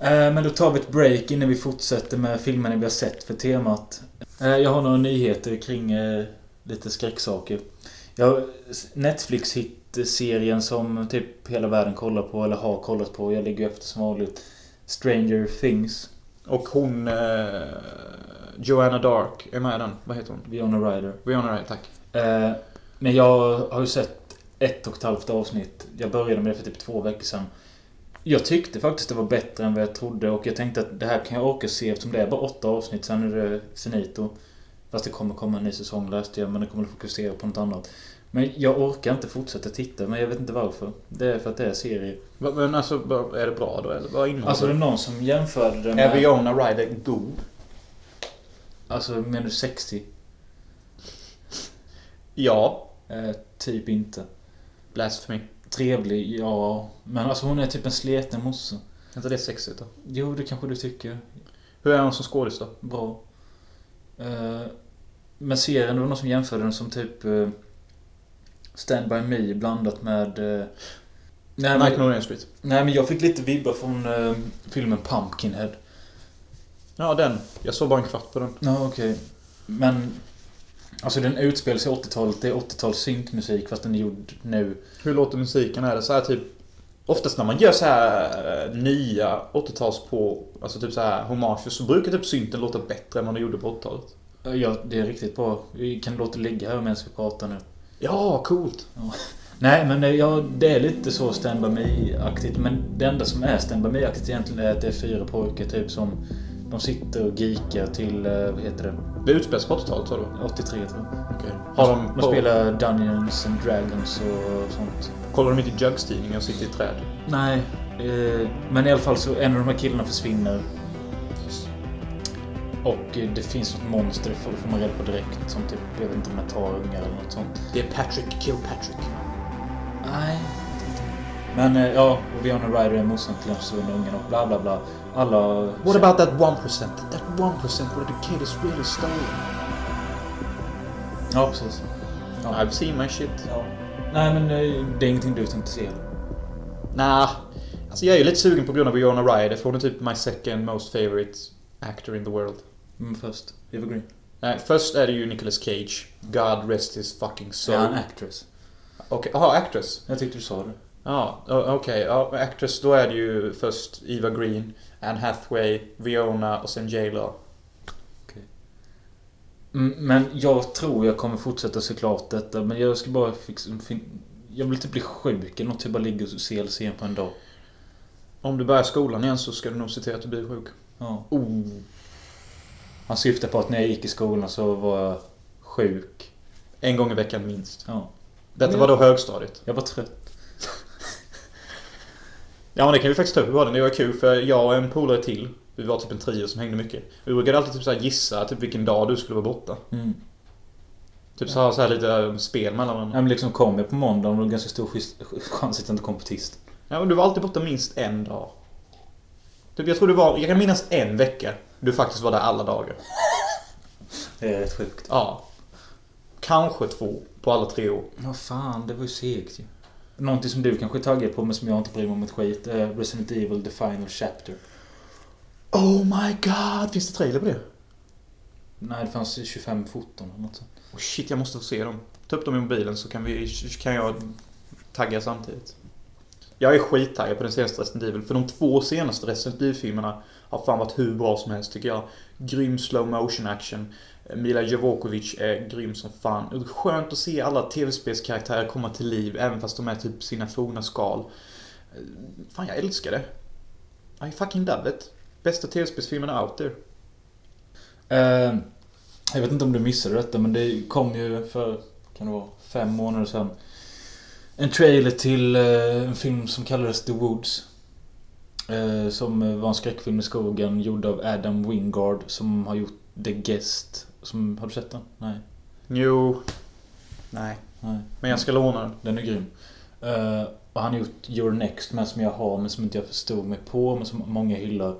Speaker 1: Eh, Men då tar vi ett break innan vi fortsätter med filmerna vi har sett för temat. Eh, Jag har några nyheter kring eh, lite skräcksaker. Jag- Netflix-hit-serien som typ hela världen kollar på eller har kollat på. Jag ligger efter som vanligt. Stranger Things.
Speaker 2: Och hon... Eh, Joanna Dark är med i den. Vad heter hon?
Speaker 1: Viona Ryder.
Speaker 2: Rihanna Wright, tack.
Speaker 1: Eh, Men jag har ju sett ett och ett halvt avsnitt. Jag började med det för typ två veckor sedan. Jag tyckte faktiskt det var bättre än vad jag trodde och jag tänkte att det här kan jag orka se eftersom det är bara åtta avsnitt, sen är det finito. Fast det kommer komma en ny säsong läste jag, men det kommer fokusera på något annat. Men jag orkar inte fortsätta titta, men jag vet inte varför. Det är för att det är serie.
Speaker 2: Va- Men alltså, va- är det bra då eller? Vad innehåller
Speaker 1: Alltså det är
Speaker 2: den?
Speaker 1: någon som jämförde det
Speaker 2: Är
Speaker 1: med...
Speaker 2: Rihanna Ryder god?
Speaker 1: Alltså menar du 60?
Speaker 2: Ja.
Speaker 1: Eh, typ inte.
Speaker 2: Blasphemy.
Speaker 1: Trevlig, ja. Men alltså hon är typ en sleten morsa.
Speaker 2: Är inte det sexigt då?
Speaker 1: Jo, det kanske du tycker.
Speaker 2: Hur är hon som skådis då?
Speaker 1: Bra. Eh, men serien, det var någon som jämförde den som typ eh, Stand By Me blandat med... eh, nej,
Speaker 2: Night
Speaker 1: men,
Speaker 2: on Elm Street.
Speaker 1: nej men jag fick lite vibbar från eh, filmen Pumpkinhead.
Speaker 2: Ja, den. Jag såg bara en kvart på den.
Speaker 1: Ja, okej. Men... Alltså den utspelar sig i 80-talet. Det är 80-tals syntmusik fast den är gjord nu.
Speaker 2: Hur låter musiken? Är det så här typ... Oftast när man gör så här eh, nya 80-tals på... Alltså typ så här homager så brukar typ synten låta bättre än vad den gjorde på 80-talet.
Speaker 1: Eh, Ja, det är riktigt bra. Vi kan låta det ligga här medan vi pratar nu.
Speaker 2: Ja, coolt!
Speaker 1: Nej, men eh, ja, det är lite så Stand By Me-aktigt. Men det enda som är Stand By Me-aktigt egentligen är att det är fyra pojkar typ som... De sitter och geekar till, eh, vad heter det,
Speaker 2: Det utspelar sig på 80-talet sa du?
Speaker 1: 83 tror jag.
Speaker 2: Okej. Har de...
Speaker 1: De
Speaker 2: på-
Speaker 1: spelar Dungeons and Dragons och sånt.
Speaker 2: Kollar de inte Jugs tidning och sitter i träd?
Speaker 1: Nej, eh, men i alla fall så en av de här killarna försvinner. Och eh, det finns något monster, det får får man reda på direkt. Som typ, jag vet inte om jag tar ungar eller något sånt.
Speaker 2: Det är Patrick Kilpatrick.
Speaker 1: Nej. Men eh, ja, och Viona Ryder är morsan till den försvunna ungen och bla bla bla. Alla...
Speaker 2: What about that 1%? That 1% where the kid is really stolen.
Speaker 1: Ja, precis. Ja.
Speaker 2: I've seen my shit.
Speaker 1: Ja. Nej, men eh, det är ingenting du tänkte se. eller?
Speaker 2: Nah. Alltså jag är ju lite sugen på grund av Winona Ryder för hon är typ my second most favorite actor in the world.
Speaker 1: Men Mm, först, Evergreen.
Speaker 2: Nej, först är det ju Nicolas Cage. God rest his fucking
Speaker 1: Så
Speaker 2: soul.
Speaker 1: är han actress.
Speaker 2: Okej, jaha, actress.
Speaker 1: Jag tyckte du sa det.
Speaker 2: Ja, o- okej. ja, men actress, då är det ju först Eva Green, Anne Hathaway, Viona och sen J.Lo.
Speaker 1: Okej. Mm, Men jag tror jag kommer fortsätta såklart detta. Men jag ska bara fixa... fin- Jag vill inte bli sjuk eller något. Jag bara ligger och ser LCN på en dag.
Speaker 2: Om du börjar skolan igen så ska du nog se till att du blir sjuk.
Speaker 1: Ja.
Speaker 2: Oh.
Speaker 1: Han syftar på att när jag gick i skolan så var jag sjuk.
Speaker 2: En gång i veckan minst.
Speaker 1: Ja.
Speaker 2: Detta var då högstadiet.
Speaker 1: Jag var trött.
Speaker 2: Ja men det kan vi faktiskt ta upp i podden. Det var kul för jag och en polare till. Vi var typ en trio som hängde mycket. Vi brukade alltid typ så här gissa typ vilken dag du skulle vara borta.
Speaker 1: Mm.
Speaker 2: Typ så här, så här lite spel mellan varandra.
Speaker 1: Ja, men liksom kom jag på måndag och det var ganska stor schys- chans att jag inte kom på tisdag.
Speaker 2: Ja men du var alltid borta minst en dag. Typ jag tror det var, jag kan minnas en vecka. Du faktiskt var där alla dagar.
Speaker 1: Det är rätt sjukt.
Speaker 2: Ja. Kanske två på alla tre år.
Speaker 1: Ja fan, det var ju segt ju. Någonting som du kanske är taggad på men som jag inte bryr mig om ett skit. är Resident Evil The Final Chapter.
Speaker 2: Oh my god! Finns det trailer på det?
Speaker 1: Nej, det fanns 25 foton eller något sånt.
Speaker 2: Oh shit, jag måste få se dem. Ta upp dem i mobilen så kan, vi, kan jag tagga samtidigt. Jag är skittaggad på den senaste Resident Evil, för de två senaste Resident Evil-filmerna har fan varit hur bra som helst tycker jag. Grym slow motion action. Mila Jovokovic är grym som fan. Och det är Skönt att se alla tv-spelskaraktärer komma till liv, även fast de är typ sina forna skal. Fan, jag älskar det. I fucking love it. Bästa tv-spelsfilmen out there.
Speaker 1: Eh, Jag vet inte om du missade detta men det kom ju för, kan det vara, fem månader sedan. En trailer till eh, en film som kallades The Woods. Eh, Som eh, var en skräckfilm i skogen gjord av Adam Wingard som har gjort The Guest. Som, har du sett den? Nej.
Speaker 2: Jo. Nej.
Speaker 1: Nej.
Speaker 2: Men jag ska låna den.
Speaker 1: Den är grym. Eh, och han har gjort Your Next med som jag har men som inte jag förstod mig på men som många hyllar.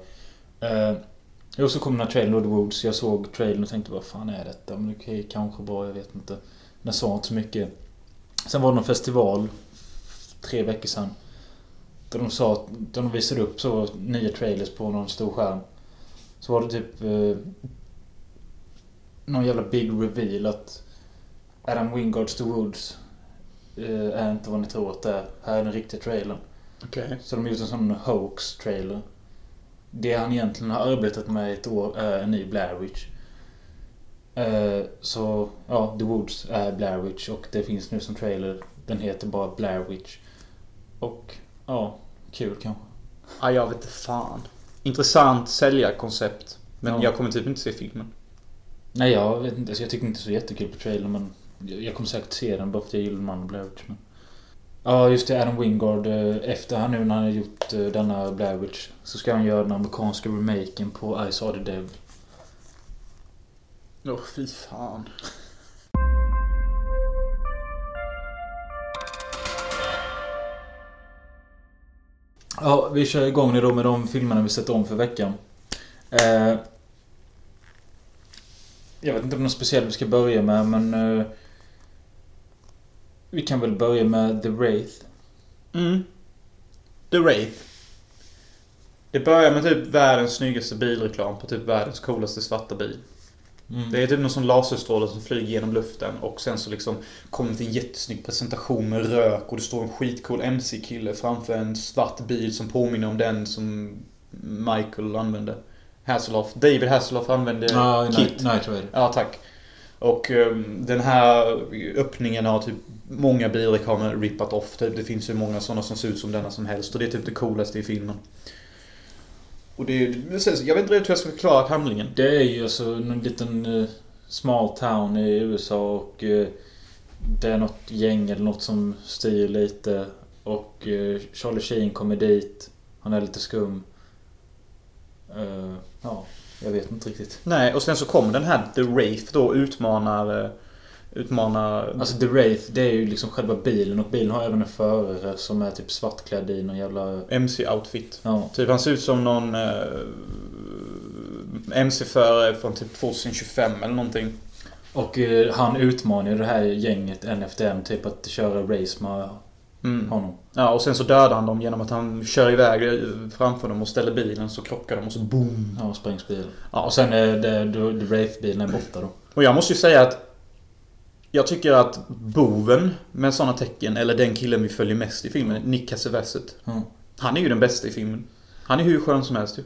Speaker 1: Uh, och så kom den här trailern Lord Woods. Jag såg trailern och tänkte vad fan är detta? Men okej, kanske bra, jag vet inte. Den sa inte så mycket. Sen var det någon festival f- tre veckor sedan. Där de sa att där de visade upp så nya trailers på någon stor skärm. Så var det typ eh, någon jävla big reveal att Adam Wingards The Woods eh, är inte vad ni tror att det är. Här är den riktiga trailern.
Speaker 2: Okej.
Speaker 1: Så de har gjort en sån hoax-trailer. Det han egentligen har arbetat med i ett år är en ny Blair Witch. Eh, Så, ja, The Woods är Blair Witch och det finns nu som trailer. Den heter bara Blair Witch. Och, ja, kul kanske.
Speaker 2: Ja, jag vet inte fan. Intressant säljarkoncept. Men
Speaker 1: Ja.
Speaker 2: jag kommer typ inte se filmen.
Speaker 1: Nej, jag vet inte. Alltså, jag tycker inte så jättekul på trailern men jag jag kommer säkert se den bara för att jag gillar den andra Blair Witch. Men... Ja, just det. Adam Wingard. eh, Efter han nu när han har gjort eh, denna Blair Witch så ska han göra den amerikanska remaken på I saw the devil.
Speaker 2: Åh, fy fan.
Speaker 1: Ja, vi kör igång nu då med de filmerna vi sett om för veckan. Eh, jag vet inte om någon speciell vi ska börja med, men... Eh, vi kan väl börja med The Wraith.
Speaker 2: Mm. The Wraith. Det börjar med typ världens snyggaste bilreklam på typ världens coolaste svarta bil. Det är typ någon sån laserstråle som flyger genom luften och sen så liksom kommer det till en jättesnygg presentation med rök och det står en skitcool MC-kille framför en svart bil som påminner om den som Michael använde. Hasselhoff. David Hasselhoff använde
Speaker 1: Ja,
Speaker 2: Kit.
Speaker 1: Night, Night Rider.
Speaker 2: Ja, tack. Och ehm, den här öppningen har typ många bilreklamer rippat off. Typ. Det finns hur många sådana som ser ut som denna som helst. Och det är typ det coolaste i filmen. Och det är, jag vet inte riktigt hur jag ska förklara handlingen.
Speaker 1: Det är ju alltså någon liten eh, small town i USA och eh, det är något gäng eller något som styr lite och eh, Charlie Sheen kommer dit. Han är lite skum. Eh, ja, jag vet inte riktigt.
Speaker 2: Nej, och sen så kommer den här The Wraith då och utmanar... eh, Utmanar...
Speaker 1: Alltså The Wraith, det är ju liksom själva bilen och bilen har även en förare som är typ svartklädd i någon jävla...
Speaker 2: MC-outfit.
Speaker 1: Ja.
Speaker 2: Typ han ser ut som någon... eh, MC-förare från typ 2025 eller någonting.
Speaker 1: Och eh, han utmanar ju det här gänget en efter en typ att köra race med
Speaker 2: Mm.
Speaker 1: honom.
Speaker 2: Ja, och sen så dödar han dem genom att han kör iväg framför dem och ställer bilen så krockar de och så boom.
Speaker 1: Ja, sprängs bilen.
Speaker 2: Ja,
Speaker 1: Och
Speaker 2: och, sen,
Speaker 1: sen är det, det, det Wraith-bilen är borta då.
Speaker 2: och jag måste ju säga att jag tycker att boven med sådana tecken, eller den killen vi följer mest i filmen, Nick Cassavetes.
Speaker 1: Mm.
Speaker 2: Han är ju den bästa i filmen. Han är hur skön som helst ju.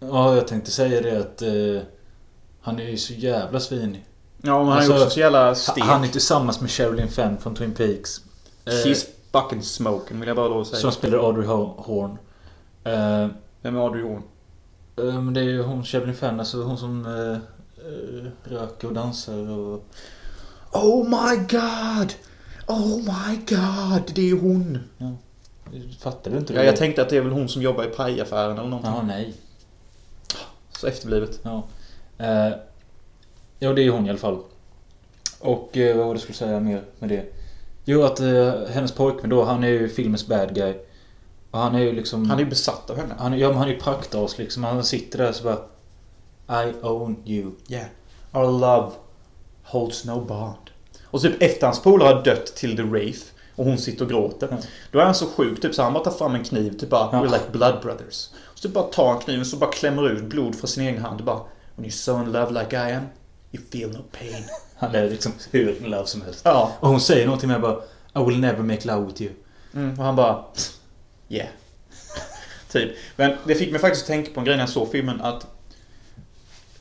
Speaker 1: Ja, jag tänkte säga det att eh, han är ju så jävla svinig.
Speaker 2: Ja, men han är
Speaker 1: Alltså,
Speaker 2: också så jävla stel.
Speaker 1: Han är tillsammans med Sherilyn Fenn från Twin Peaks. eh,
Speaker 2: She's fucking smoking vill jag bara lov att säga.
Speaker 1: som spelar Audrey Ho- Horn. Eh, eh,
Speaker 2: Vem är Audrey Horn?
Speaker 1: Men det är ju hon, Sherilyn Fenn, alltså hon som eh, eh, röker och dansar och...
Speaker 2: Oh my god! Oh my god! Det är ju hon!
Speaker 1: Fattar du inte
Speaker 2: Ja, jag tänkte att det är väl hon som jobbar i pajaffären eller någonting.
Speaker 1: Jaha, nej.
Speaker 2: Så efterblivet.
Speaker 1: Ja. Eh, ja, det är hon i alla fall. Och eh, vad var det jag skulle säga mer med det? Jo, att eh, hennes pojkvän då, han är ju filmens bad guy. Och han är ju liksom...
Speaker 2: Han är ju besatt av henne.
Speaker 1: han, är- ja, men han är ju praktas liksom. Han sitter där så bara... I own you.
Speaker 2: Yeah. Our love holds no bond. Och typ efter hans polare har dött till The Wraith och hon sitter och gråter.
Speaker 1: Ja.
Speaker 2: Då är han så sjuk typ så han bara tar fram en kniv typ bara
Speaker 1: Ja.
Speaker 2: We're like blood brothers. Så typ bara tar han kniven så bara klämmer ut blod från sin egen hand och bara When you're so in love like I am You feel no pain.
Speaker 1: Han är liksom hur in love som helst.
Speaker 2: Ja.
Speaker 1: Och hon säger någonting med bara... I will never make love with you.
Speaker 2: Mm, och han bara Yeah. typ. Men det fick mig faktiskt att tänka på en grej när jag såg filmen att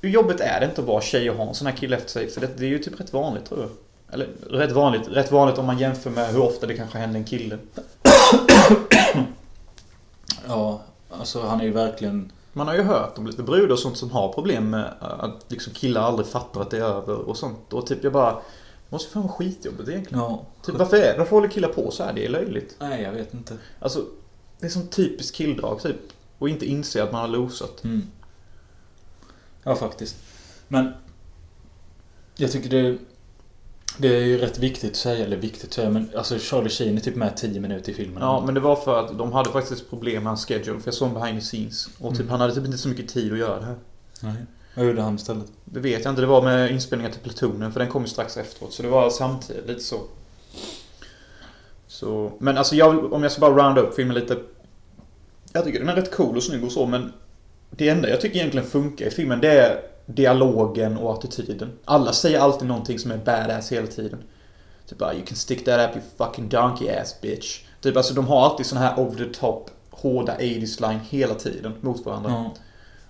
Speaker 2: hur jobbigt är det inte att vara tjej och ha en sån här kille efter sig? För det, det är ju typ rätt vanligt tror jag. Eller rätt vanligt, rätt vanligt om man jämför med hur ofta det kanske händer en kille.
Speaker 1: Ja, alltså han är ju verkligen...
Speaker 2: Man har ju hört om lite brudar och sånt som har problem med att liksom killar aldrig fattar att det är över och sånt. Och typ jag bara, måste fan vara skitjobbigt egentligen.
Speaker 1: Ja.
Speaker 2: Typ varför, är, varför håller killar på så här? Det är löjligt.
Speaker 1: Nej, jag vet inte.
Speaker 2: Alltså, det är sån typisk killdrag typ. Och inte inse att man har losat.
Speaker 1: Mm. Ja, faktiskt. Men jag tycker det, det är ju rätt viktigt att säga, eller viktigt att säga, men alltså Charlie Sheen är typ med 10 minuter i filmen.
Speaker 2: Ja, men det var för att de hade faktiskt problem med hans schedule. För jag såg en behind the scenes. Och typ,
Speaker 1: Mm.
Speaker 2: han hade typ inte så mycket tid att göra det här.
Speaker 1: Nej. Vad gjorde han istället?
Speaker 2: Det vet jag inte. Det var med inspelningen till Plutonen. För den kom ju strax efteråt. Så det var samtidigt lite så. så men alltså jag, vill- om jag ska bara rounda upp filmen lite. Jag tycker den är rätt cool och snygg och så. Men det enda jag tycker egentligen funkar i filmen det är dialogen och attityden. Alla säger alltid någonting som är badass hela tiden. Typ bara you can stick that up you fucking donkey ass bitch. Typ alltså de har alltid såna här over the top hårda 80s line hela tiden mot varandra.
Speaker 1: Ja.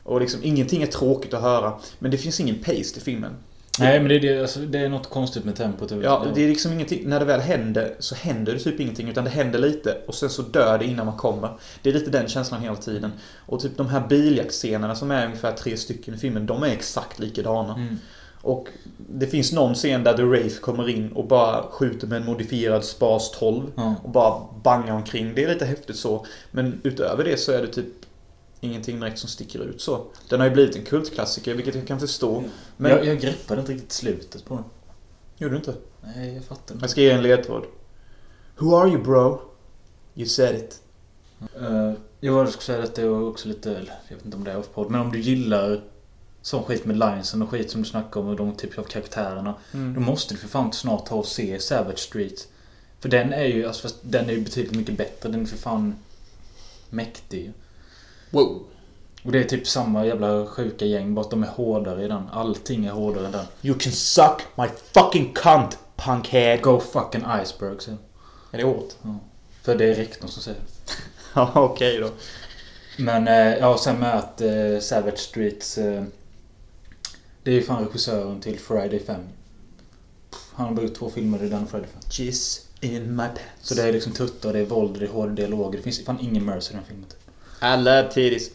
Speaker 2: Och liksom ingenting är tråkigt att höra. Men det finns ingen pace i filmen.
Speaker 1: Nej, men det är, det, alltså, det är något konstigt med tempot.
Speaker 2: Ja, det är liksom ingenting. När det väl händer så händer det typ ingenting. Utan det händer lite och sen så dör det innan man kommer. Det är lite den känslan hela tiden. Och typ de här biljaktscenerna som är ungefär tre stycken i filmen. De är exakt likadana.
Speaker 1: Mm.
Speaker 2: Och det finns någon scen där The Wraith kommer in och bara skjuter med en modifierad Spas 12.
Speaker 1: Ja.
Speaker 2: Och bara bangar omkring. Det är lite häftigt så. Men utöver det så är det typ ingenting direkt som sticker ut så. Den har ju blivit en kultklassiker, vilket jag kan förstå. Men...
Speaker 1: Men... Jag, jag greppade inte riktigt slutet på den.
Speaker 2: Gjorde du inte?
Speaker 1: Nej, jag fattar inte.
Speaker 2: Jag ska ge en ledtråd. Who are you bro? You said it.
Speaker 1: Uh, jag var- skulle säga att det var också lite, eller, jag vet inte om det är off-podd, men om du gillar sån skit med linesen och skit som du snackar om och de typer av karaktärerna.
Speaker 2: Mm.
Speaker 1: Då måste du för fan snart ta och se Savage Street. För den är ju, alltså, fast den är ju betydligt mycket bättre. Den är för fan mäktig.
Speaker 2: Wow.
Speaker 1: Och det är typ samma jävla sjuka gäng, bara att de är hårdare i den. Allting är hårdare än den.
Speaker 2: You can suck my fucking cunt, punkhead.
Speaker 1: Go fucking iceberg, säger de.
Speaker 2: Är det åt?
Speaker 1: För det är rektorn som säger det.
Speaker 2: Ja, okej då.
Speaker 1: Men eh, ja, och sen med att eh, Savage Streets... Eh, det är ju fan regissören till Friday 5. Pff, Han har bara gjort två filmer i den Friday 5.
Speaker 2: Jizz in my pants.
Speaker 1: Så det är liksom tuttar, det är våld, det är hårda dialoger. Det finns fan ingen mercy i den filmen. typ.
Speaker 2: I love titties.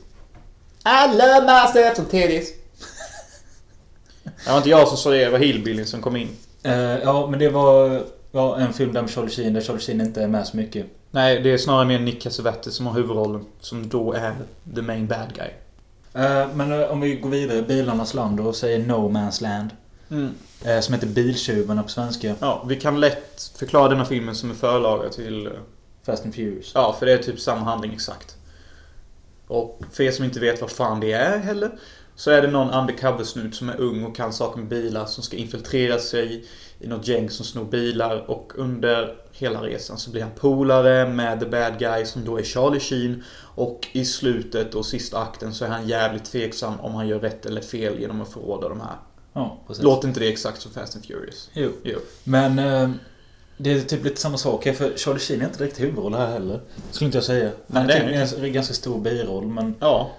Speaker 2: I love myself some titties. det var inte jag som sa det, det var Hillbilly som kom in.
Speaker 1: Eh, ja, men det var ja, en film där med Charlie Sheen, där Charlie Sheen inte är med så mycket.
Speaker 2: Nej, det är snarare mer Nick Cassavetes som har huvudrollen. Som då är the main bad guy.
Speaker 1: Eh, men eh, om vi går vidare, Bilarnas land och säger No Man's Land. eh, som heter Biltjuvarna på svenska.
Speaker 2: Mm. Ja, vi kan lätt förklara denna filmen som en förlaga till... eh,
Speaker 1: Fast and Furious.
Speaker 2: Ja, för det är typ samma handling exakt. Och för er som inte vet vad fan det är heller. Så är det någon undercover-snut som är ung och kan saker med bilar som ska infiltrera sig i något gäng som snor bilar och under hela resan så blir han polare med the bad guy som då är Charlie Sheen och i slutet och sista akten så är han jävligt tveksam om han gör rätt eller fel genom att förråda de här.
Speaker 1: Ja, precis.
Speaker 2: Låter inte det exakt som Fast and Furious?
Speaker 1: Jo.
Speaker 2: Jo.
Speaker 1: Men eh, det är typ lite samma sak här, för Charlie Sheen är inte direkt huvudroll här heller. Skulle inte jag säga. Han
Speaker 2: det är
Speaker 1: är typ en ganska- ganska stor biroll, men
Speaker 2: Ja.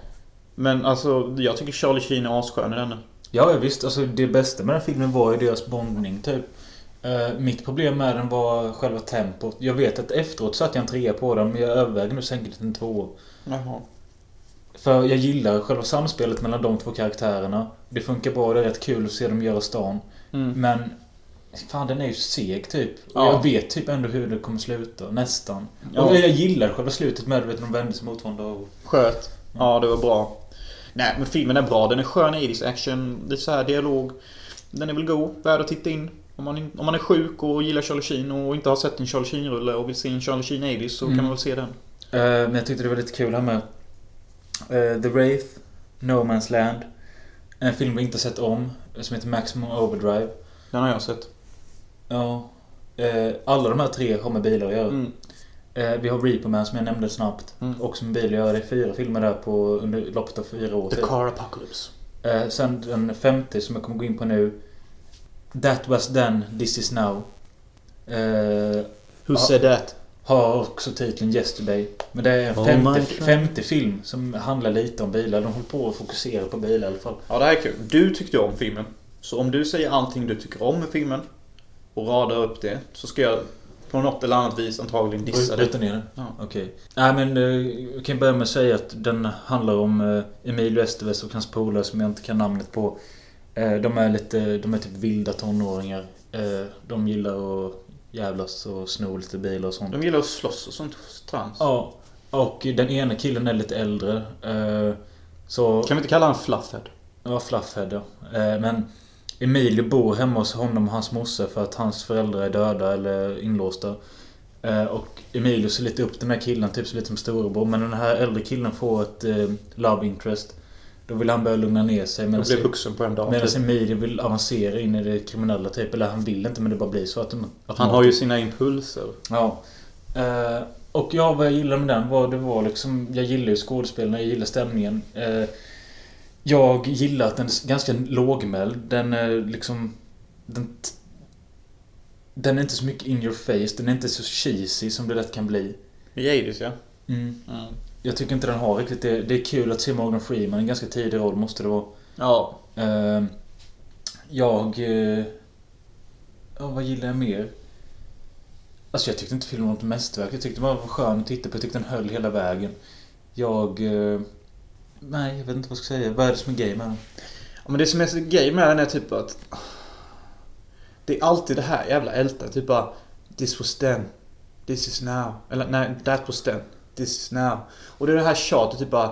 Speaker 2: Men alltså, jag tycker Charlie Sheen är asskön i denna.
Speaker 1: Ja, ja, visst. Alltså, det bästa med den filmen var ju deras bondning, typ. Eh, mitt problem med den var själva tempot. Jag vet att efteråt satte jag en trea på den, men jag överväger nu att sänka den till en tvåa.
Speaker 2: Jaha.
Speaker 1: För jag gillar själva samspelet mellan de två karaktärerna. Det funkar bra, det är rätt kul att se dem göra stan.
Speaker 2: Mm.
Speaker 1: Men... Fan, den är ju seg typ. Och
Speaker 2: Ja.
Speaker 1: Jag vet typ ändå hur det kommer sluta, nästan.
Speaker 2: Ja.
Speaker 1: Och jag gillar själva slutet med att de vände sig mot varandra och...
Speaker 2: Sköt. Ja, det var bra. Nej, men filmen är bra. Den är skön i this action. Det är så här dialog. Den är väl god. Värd att titta in. Om man, om man är sjuk och gillar Charlie Sheen och inte har sett en Charlie Sheen-rulle och vill se en Charlie Sheen 80 så
Speaker 1: Mm.
Speaker 2: kan man väl se den.
Speaker 1: Eh, Men jag tyckte det var lite kul här med. Eh, The Wraith, No Man's Land. En film vi inte sett om, som heter Maximum Overdrive.
Speaker 2: Den har jag sett.
Speaker 1: Ja. Eh, Alla de här tre har med bilar att göra.
Speaker 2: Mm.
Speaker 1: Eh, Vi har Reaper Man som jag nämnde snabbt.
Speaker 2: Mm.
Speaker 1: Också med bilar att göra. Det är fyra filmer där på under loppet av fyra år.
Speaker 2: The
Speaker 1: typ.
Speaker 2: Car Apocalypse.
Speaker 1: Eh, sen den femte som jag kommer gå in på nu. That was then, this is now. Eh,
Speaker 2: Who
Speaker 1: Ja.
Speaker 2: said that?
Speaker 1: har också titeln Yesterday. Men det är en
Speaker 2: Oh
Speaker 1: femte,
Speaker 2: my God.
Speaker 1: femte film som handlar lite om bilar. De håller på att fokusera på bilar i alla fall.
Speaker 2: Ja, det här är kul. Du tyckte om filmen. Så om du säger allting du tycker om med filmen och radar upp det så ska jag på något eller annat vis antagligen dissa
Speaker 1: Bryta
Speaker 2: det.
Speaker 1: ner den?
Speaker 2: Ja.
Speaker 1: Okej. Nej men eh, jag kan börja med att säga att den handlar om eh, Emilio Estevez och hans polare som jag inte kan namnet på. Eh, de är lite, de är typ vilda tonåringar. Eh, de gillar att jävlas och sno lite bilar och sånt.
Speaker 2: De gillar att slåss och sånt trams.
Speaker 1: Ja, och den ena killen är lite äldre. eh, Så...
Speaker 2: Kan vi inte kalla han Fluffhead?
Speaker 1: Ja, Fluffhead ja. Eh, Men Emilio bor hemma hos honom och hans morsa för att hans föräldrar är döda eller inlåsta. Eh, Och Emilio ser lite upp den här killen, typ så lite som storebror. Men den här äldre killen får ett eh, love interest. Då vill han börja lugna ner sig.
Speaker 2: Jag
Speaker 1: medan-
Speaker 2: blev vuxen på en dag.
Speaker 1: Medan
Speaker 2: typ.
Speaker 1: Emilio vill avancera in i det kriminella typ. Eller han vill inte men det bara blir så att, att
Speaker 2: Han har ju sina impulser.
Speaker 1: Ja. Eh, och ja, vad jag gillade med den var det var liksom... Jag gillar ju skådespelarna, jag gillar stämningen. Eh, jag gillar att den är ganska lågmäld. Den är liksom... Den, t- den är inte så mycket in your face. Den är inte så cheesy som det lätt kan bli.
Speaker 2: Jadis ja. Mm.
Speaker 1: Jag tycker inte den har riktigt det. Det är kul att se Morgan Freeman i en ganska tidig roll, måste det vara.
Speaker 2: Ja.
Speaker 1: Eh, jag... Eh, ja, vad gillar jag mer? Alltså jag tyckte inte filmen var ett mästerverk. Jag tyckte bara den var skön att titta på. Jag tyckte den höll hela vägen. Jag... Eh, nej, jag vet inte vad jag ska säga. Vad är det som är gay med den?
Speaker 2: Ja, Men det som är så grej med den är typ att... Det är alltid det här jävla ältet. Typ bara... This was then. This is now. Eller nej, that was then. This is now. Och det är det här tjatet typ bara...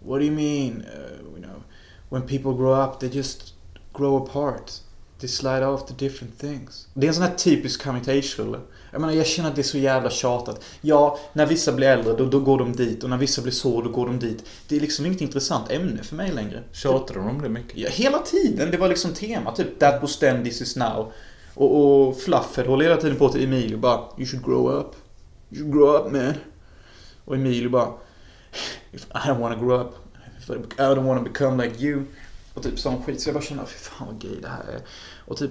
Speaker 2: What do you mean? Uh, you know, when people grow up they just grow apart. They slide off to different things. Det är en sån här typisk coming to age-rulle. Jag menar, jag känner att det är så jävla tjatat. Ja, när vissa blir äldre då, då går de dit och när vissa blir så då går de dit. Det är liksom inget intressant ämne för mig längre.
Speaker 1: Tjatar de om det mycket?
Speaker 2: Ja, hela tiden. Det var liksom tema. Typ that was then, this is now. Och, och Fluffhead håller hela tiden på till Emilio bara You should grow up. You should grow up man. Och Emilio bara If I don't wanna grow up. If I don't wanna become like you. Och typ sån skit. Så jag bara känner, fy fan vad gay det här är. Och typ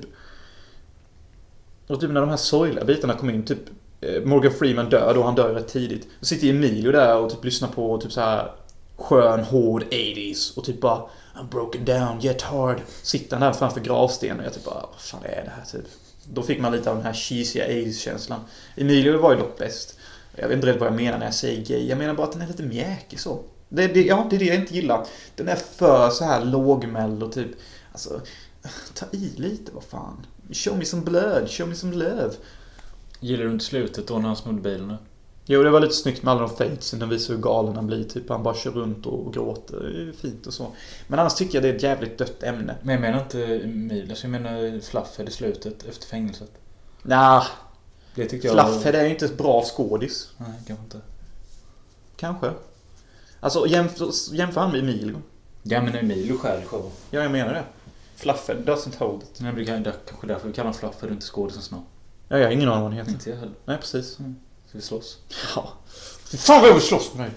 Speaker 2: Och typ när de här sorgliga bitarna kom in, typ eh, Morgan Freeman dör då, han dör ju rätt tidigt. Då sitter Emilio där och typ lyssnar på typ så här skön, hård 80s och typ bara I'm broken down, yet hard. Sitter han där framför gravstenen och jag typ bara vad fan är det här typ? Då fick man lite av den här cheesiga 80s-känslan. Emilio var ju dock bäst. Jag vet inte riktigt vad jag menar när jag säger gay. Jag menar bara att den är lite mjäkig så. Det, det, ja, det är det jag inte gillar. Den är för så här lågmäld och typ Alltså, ta i lite, vad fan. Show me some blood, show me some love.
Speaker 1: Gillar du inte slutet då när han snodde bilen? nu?
Speaker 2: Jo, det var lite snyggt med alla de fatesen. De visar hur galen han blir. Typ han bara kör runt och, och gråter. Det är ju fint och så. Men annars tycker jag det är ett jävligt dött ämne.
Speaker 1: Men jag menar inte Emil. Alltså jag menar Fluffhead i slutet efter fängelset.
Speaker 2: Nja,
Speaker 1: Det tyckte jag...
Speaker 2: Fluffhead är ju inte ett bra skådis.
Speaker 1: Nej, kanske inte.
Speaker 2: Kanske. Alltså, jämför, jämför han med Emilio.
Speaker 1: Ja men Emilio stjäl showen.
Speaker 2: Ja, jag menar det. Fluffhead doesn't hold it.
Speaker 1: Nej men det kan- det är kanske därför vi kallar honom Fluffhead och inte skådisen snart.
Speaker 2: Ja, jag har ingen aning vad han heter.
Speaker 1: Inte jag heller.
Speaker 2: Nej, precis.
Speaker 1: Ska vi slåss?
Speaker 2: Ja. Fy fan vad jag vill slåss med dig!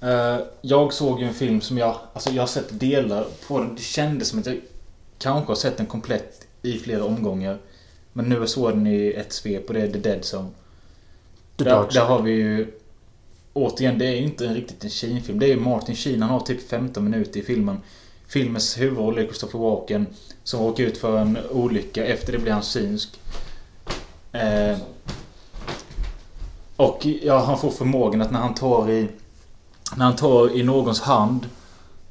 Speaker 1: Eh, jag såg ju en film som jag... Alltså jag har sett delar på den. Det kändes som att jag kanske har sett den komplett i flera omgångar. Men nu såg jag den i ett svep och det är The Dead Zone. Där, där har vi ju... Återigen, det är ju inte en riktigt en Sheen-film. Det är ju Martin Sheen. Han har typ 15 minuter i filmen. Filmens huvudroll är Christopher Walken. Som råkar ut för en olycka. Efter det blir han synsk. Eh, och ja, han får förmågan att när han tar i... När han tar i någons hand.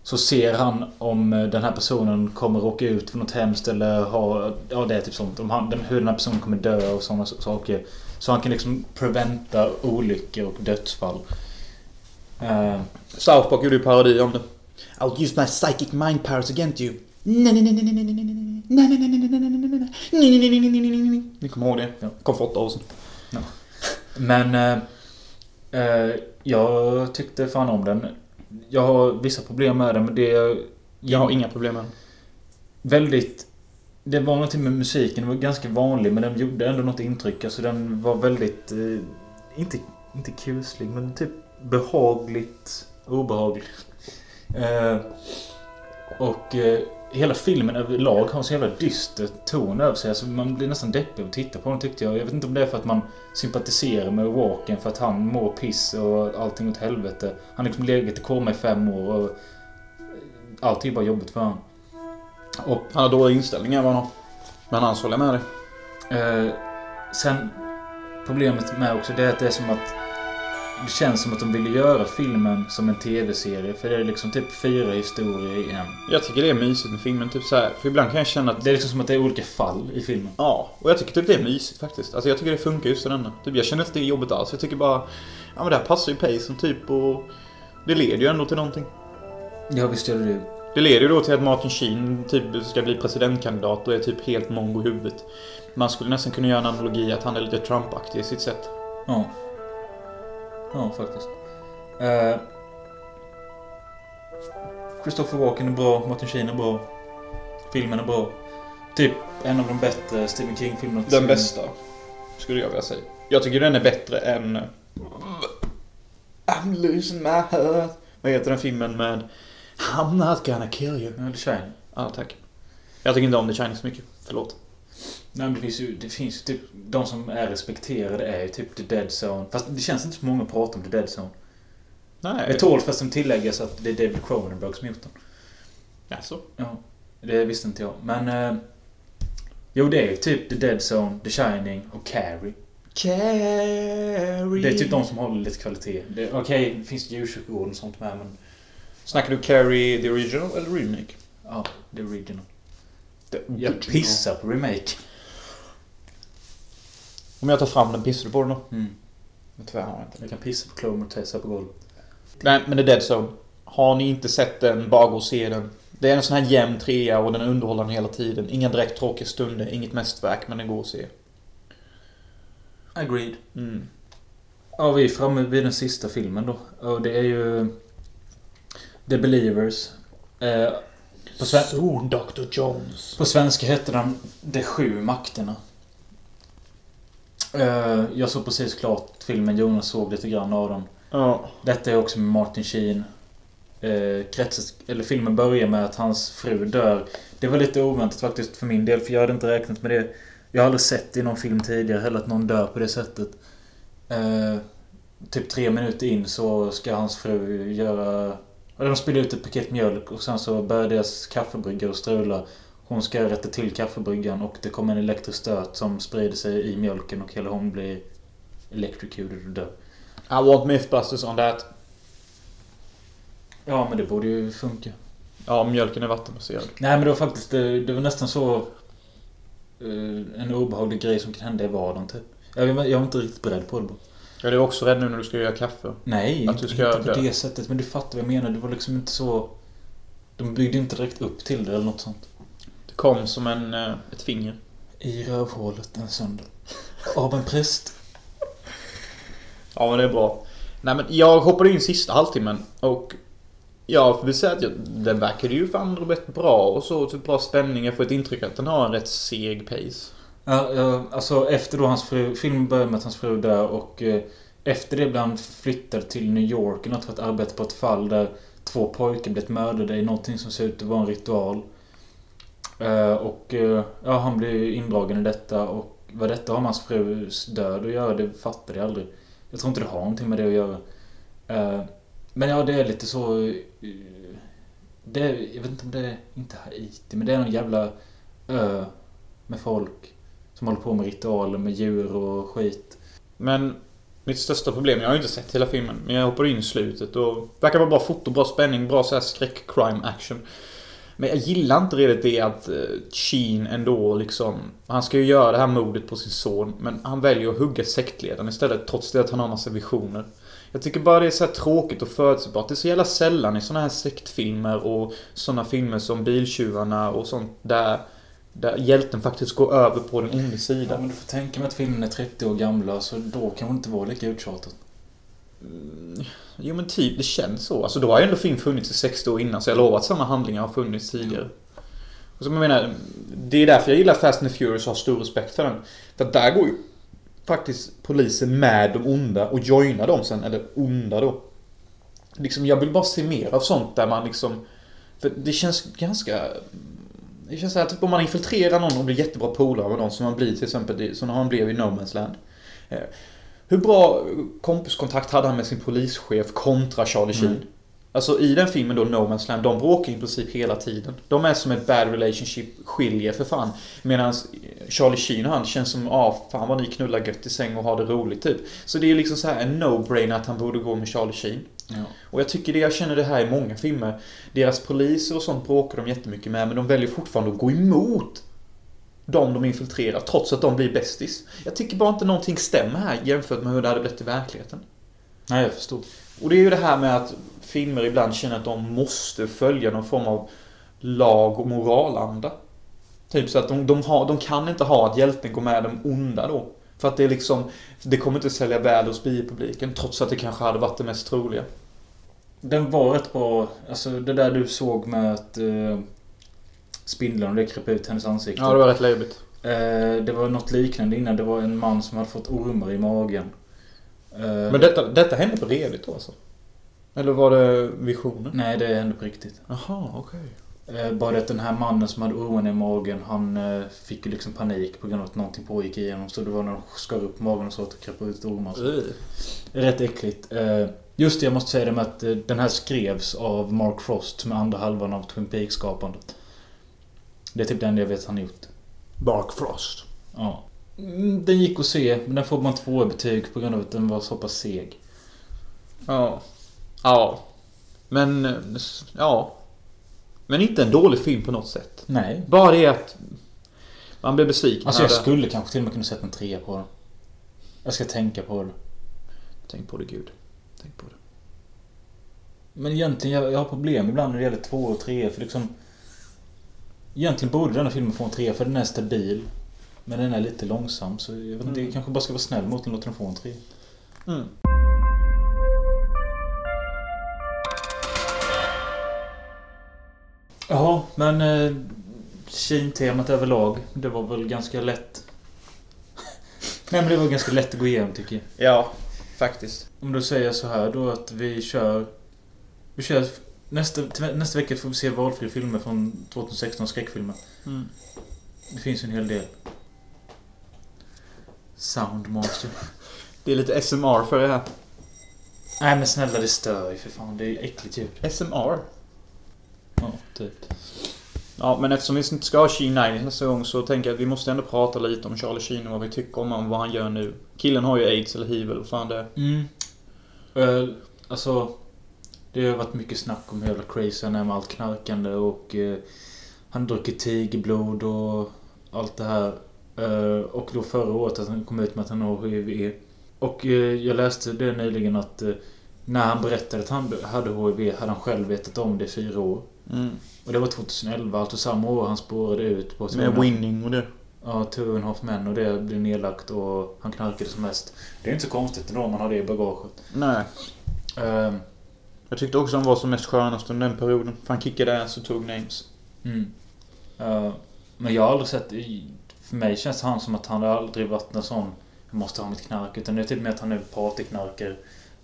Speaker 1: Så ser han om eh, den här personen kommer råka ut för något hemskt eller ha... Ja, det är typ sånt. Om han, den- hur den här personen kommer dö och sådana saker. Så han kan liksom preventa olyckor och dödsfall. Eh,
Speaker 2: South Park gjorde ju parodi om det.
Speaker 3: I'll use my psychic mind powers against you. Na na na na na na na na na na na na na na na na na na na na na na na na
Speaker 2: Ni kommer ihåg det?
Speaker 1: Ja.
Speaker 2: Kom för åtta år sedan.
Speaker 1: Men eh, eh, jag tyckte fan om den. Jag har vissa problem med den men det är
Speaker 2: Jag har inga problem med den.
Speaker 1: väldigt... Det var någonting med musiken, den var ganska vanlig men den gjorde ändå något intryck. Alltså den var väldigt... Eh, inte, inte kuslig men typ behagligt obehaglig. Eh, och eh, hela filmen överlag har en så jävla dyster ton över sig. Alltså man blir nästan deppig att titta på den tyckte jag. Jag vet inte om det är för att man sympatiserar med Walken för att han mår piss och allting åt helvete. Han har liksom legat i koma i fem år och eh, allting är bara jobbigt för honom. Och
Speaker 2: Han har dåliga inställningar vad han har. Men annars håller jag med dig.
Speaker 1: Eh, sen problemet med också det är att det är som att det känns som att de ville göra filmen som en tv-serie för det är liksom typ fyra historier i en.
Speaker 2: Jag tycker det är mysigt med filmen. Typ så här, för ibland kan jag känna att...
Speaker 1: Det är liksom som att det är olika fall i filmen.
Speaker 2: Ja, och jag tycker typ det är mysigt faktiskt. Alltså jag tycker det funkar just i denna. Typ jag känner inte det är jobbigt alls. Jag tycker bara... Ja men det här passar ju pacen typ och... Det leder ju ändå till någonting.
Speaker 1: Ja visst gör det det.
Speaker 2: Det leder ju då till att Martin Sheen typ ska bli presidentkandidat och är typ helt mongo i huvudet. Man skulle nästan kunna göra en analogi att han är lite Trump-aktig i sitt sätt.
Speaker 1: Ja. Ja faktiskt. Eh, Christopher Walken är bra, Martin Sheen är bra. Filmen är bra. Typ en av de bättre Stephen King-filmerna.
Speaker 2: Den bästa, skulle jag vilja säga. Jag tycker den är bättre än... I'm losing my heart. Vad heter den filmen med... I'm not gonna kill you.
Speaker 1: Ja, The Shining.
Speaker 2: Ja, ah, tack. Jag tycker inte om The Shining så mycket. Förlåt.
Speaker 1: Nej men det finns ju, det finns ju typ, de som är respekterade är ju typ The Dead Zone. Fast det känns inte så många pratar om The Dead Zone.
Speaker 2: Nej.
Speaker 1: Det tål fast som tilläggas att det är David Cronenberg som gjort den.
Speaker 2: Alltså.
Speaker 1: Ja, det visste inte jag. Men... Eh, jo det är ju typ The Dead Zone, The Shining och Carrie.
Speaker 2: Carrie.
Speaker 1: Det är typ de som håller lite kvalitet. Det- Okej, det finns djursjukvård och sånt med men...
Speaker 2: Snackar du Carrie the original eller remake?
Speaker 1: Ja, The Original.
Speaker 2: The
Speaker 1: Jag pissar på remake.
Speaker 2: Om jag tar fram den, pissar du på den då?
Speaker 1: Mm.
Speaker 2: Men tyvärr har jag inte.
Speaker 1: Jag kan pissa på Clover och Tessa på golvet.
Speaker 2: Nej, men The Dead Zone. Har ni inte sett den, bara gå och se den. Det är en sån här jämn trea och den är underhållande hela tiden. Inga direkt tråkiga stunder, inget mästerverk, men den går att se.
Speaker 1: Agreed.
Speaker 2: Mm.
Speaker 1: Ja, vi är framme vid den sista filmen då. Och det är ju... The Believers. Eh, på, sven-
Speaker 3: Soon, Dr. Jones.
Speaker 1: på svenska heter den De sju makterna. Eh, jag såg precis klart filmen. Jonas såg lite grann av den.
Speaker 2: Ja.
Speaker 1: Detta är också med Martin Sheen. Eh, kretsas, eller filmen börjar med att hans fru dör. Det var lite oväntat faktiskt för min del, för jag hade inte räknat med det. Jag har aldrig sett i någon film tidigare heller att någon dör på det sättet. Eh, typ tre minuter in så ska hans fru göra... ja, De spiller ut ett paket mjölk och sen så börjar deras kaffebryggare att strula. Hon ska rätta till kaffebryggan och det kommer en elektrisk stöt som sprider sig i mjölken och hela hon blir electrocuted och dör.
Speaker 2: I want Mythbusters on that.
Speaker 1: Ja, men det borde ju funka.
Speaker 2: Ja, mjölken är vattenbaserad.
Speaker 1: Nej men det var faktiskt, det, det var nästan så... eh, en obehaglig grej som kan hända i vardagen typ. Jag, var- jag var inte riktigt beredd på det. bara.
Speaker 2: Jag är också rädd nu när du ska göra kaffe.
Speaker 1: Nej,
Speaker 2: Att du ska
Speaker 1: inte på
Speaker 2: dö.
Speaker 1: det sättet. Men du fattar vad jag menar. Det var liksom inte så... De byggde inte direkt upp till det eller något sånt.
Speaker 2: Det kom som en, eh, ett finger.
Speaker 1: I rövhålet en söndag. Av en präst.
Speaker 2: Ja, men det är bra. Nej, men jag hoppade in sista halvtimmen och jag vill säga att jag, den verkade ju fan rätt bra och så. Typ bra spänning. Jag får ett intryck att den har en rätt seg pace.
Speaker 1: Ja, ja, alltså efter då hans fru... Filmen börjar med att hans fru dör och... eh, efter det blir han flyttad till New York eller något för att arbeta på ett fall där två pojkar blivit mördade i någonting som ser ut att vara en ritual. Eh, Och eh, ja, han blir indragen i detta och vad detta har med hans frus död att göra, det fattar jag aldrig. Jag tror inte det har någonting med det att göra. Eh, Men ja, det är lite så... eh, Det är, jag vet inte om det är, inte Haiti, men det är någon jävla ö med folk som håller på med ritualer med djur och skit.
Speaker 2: Men mitt största problem, jag har ju inte sett hela filmen, men jag hoppade in i slutet och... Verkar vara bra foto, bra spänning, bra så här skräck-crime-action. Men jag gillar inte redigt det att eh, Sheen ändå liksom... Han ska ju göra det här mordet på sin son, men han väljer att hugga sektledaren istället trots det att han har massa visioner. Jag tycker bara det är så här tråkigt och förutsägbart. Det är så jävla sällan i såna här sektfilmer och såna filmer som Biltjuvarna och sånt där... Där hjälten faktiskt går över på den onda
Speaker 1: Ja,
Speaker 2: sidan.
Speaker 1: men du får tänka mig att filmen är 30 år gamla, så då kan det inte vara lika uttjatat.
Speaker 2: Jo men typ, det känns så. Alltså då har ju ändå film funnits i 60 år innan så jag lovar att samma handlingar har funnits tidigare. Och så, jag menar, det är därför jag gillar Fast and the Furious och har stor respekt för den. För att där går ju faktiskt polisen med de onda och joinar dem sen, eller onda då. Liksom, jag vill bara se mer av sånt där man liksom... För det känns ganska... Det känns så här, typ om man infiltrerar någon och blir jättebra polare med någon som man blir till exempel, i- som han blev i No Man's Land. Eh, Hur bra kompiskontakt hade han med sin polischef kontra Charlie Sheen?
Speaker 1: Mm.
Speaker 2: Alltså i den filmen då, No Man's Land, de bråkar i princip hela tiden. De är som ett bad relationship, skiljer för fan. Medan Charlie Sheen och han känns som, ah fan vad ni knullar gött i säng och har det roligt typ. Så det är ju liksom så här en no-brainer att han borde gå med Charlie Sheen.
Speaker 1: Ja.
Speaker 2: Och jag tycker det, jag känner det här i många filmer. Deras poliser och sånt bråkar de jättemycket med, men de väljer fortfarande att gå emot de de infiltrerar, trots att de blir bästis. Jag tycker bara inte någonting stämmer här jämfört med hur det hade blivit i verkligheten.
Speaker 1: Nej, jag förstår.
Speaker 2: Och det är ju det här med att filmer ibland känner att de måste följa någon form av lag och moralanda. Typ så att de, de, har, de kan inte ha att hjälten går med de onda då. För att det är liksom, det kommer inte sälja väl hos biopubliken, trots att det kanske hade varit det mest troliga.
Speaker 1: Den var rätt bra. Alltså det där du såg med att eh, spindeln och det kröp ut hennes ansikte.
Speaker 2: Ja, det var rätt löjligt.
Speaker 1: Eh, det var något liknande innan. Det var en man som hade fått ormar i magen. Eh,
Speaker 2: Men detta, detta hände på redigt då alltså? Eller var det visionen?
Speaker 1: Nej, det hände på riktigt.
Speaker 2: Jaha, okej.
Speaker 1: Eh, bara det att den här mannen som hade ormarna i magen, han eh, fick ju liksom panik på grund av att någonting pågick igenom. Så det var när de skar upp magen och så att det kröp ut ormar. Rätt äckligt. Eh, Just det, jag måste säga det med att eh, den här skrevs av Mark Frost med andra halvan av Twin Peaks-skapandet. Det är typ det enda jag vet han gjort.
Speaker 2: Bark Frost.
Speaker 1: Ja. Mm, Den gick att se, men den får man två betyg på grund av att den var så pass seg.
Speaker 2: Ja. Ja. Men, eh, s- ja. Men inte en dålig film på något sätt.
Speaker 1: Nej.
Speaker 2: Bara det att man blir besviken.
Speaker 1: Alltså jag
Speaker 2: när det-
Speaker 1: skulle kanske till och med kunna sätta en trea på den. Jag ska tänka på det.
Speaker 2: Tänk på det gud. Tänk på det.
Speaker 1: Men egentligen, jag, jag har problem ibland när det gäller två och tre för liksom... Egentligen borde den här filmen få en trea för den är stabil. Men den är lite långsam så jag vet inte, jag kanske bara ska vara snäll mot den och låta den få en trea.
Speaker 2: Mm.
Speaker 1: Jaha, men eh, Kina-temat överlag, det var väl ganska lätt. Nej men det var ganska lätt att gå igenom tycker jag.
Speaker 2: Ja, faktiskt.
Speaker 1: Om du säger så här då att vi kör... Vi kör nästa, till nästa vecka får vi se valfria filmer från 2016, skräckfilmer.
Speaker 2: Mm.
Speaker 1: Det finns ju en hel del. Soundmaster.
Speaker 2: Det är lite SMR för det här.
Speaker 1: Nej men snälla det stör ju för fan, det är äckligt ljud.
Speaker 2: SMR?
Speaker 1: Ja, typ.
Speaker 2: Ja, men eftersom vi inte ska ha Sheen Nine nästa gång så tänker jag att vi måste ändå prata lite om Charlie Sheen och vad vi tycker om honom, vad han gör nu. Killen har ju AIDS eller hiv eller vad fan det är.
Speaker 1: Mm. Eh, alltså, det har varit mycket snack om hur jävla crazy han är med allt knarkande och eh, han dricker tigerblod och allt det här. Eh, och då förra året att han kom ut med att han har HIV. Och eh, jag läste det nyligen att eh, när han berättade att han hade HIV hade han själv vetat om det i fyra år.
Speaker 2: Mm.
Speaker 1: Och det var 2011, alltså samma år han spårade ut på
Speaker 2: Med winning och det.
Speaker 1: Ja, Two and a half men och det blev nedlagt och han knarkade som mest. Det är inte så konstigt ändå om man har det i bagaget.
Speaker 2: Nej.
Speaker 1: Ehm,
Speaker 2: Jag tyckte också han var som mest skönast under den perioden. För han kickade ass och tog names.
Speaker 1: Mm. Eh, men jag har aldrig sett... i- För mig känns han som att han har aldrig varit en sån... Jag måste ha mitt knark. Utan det är typ mer att han är partyknarkare.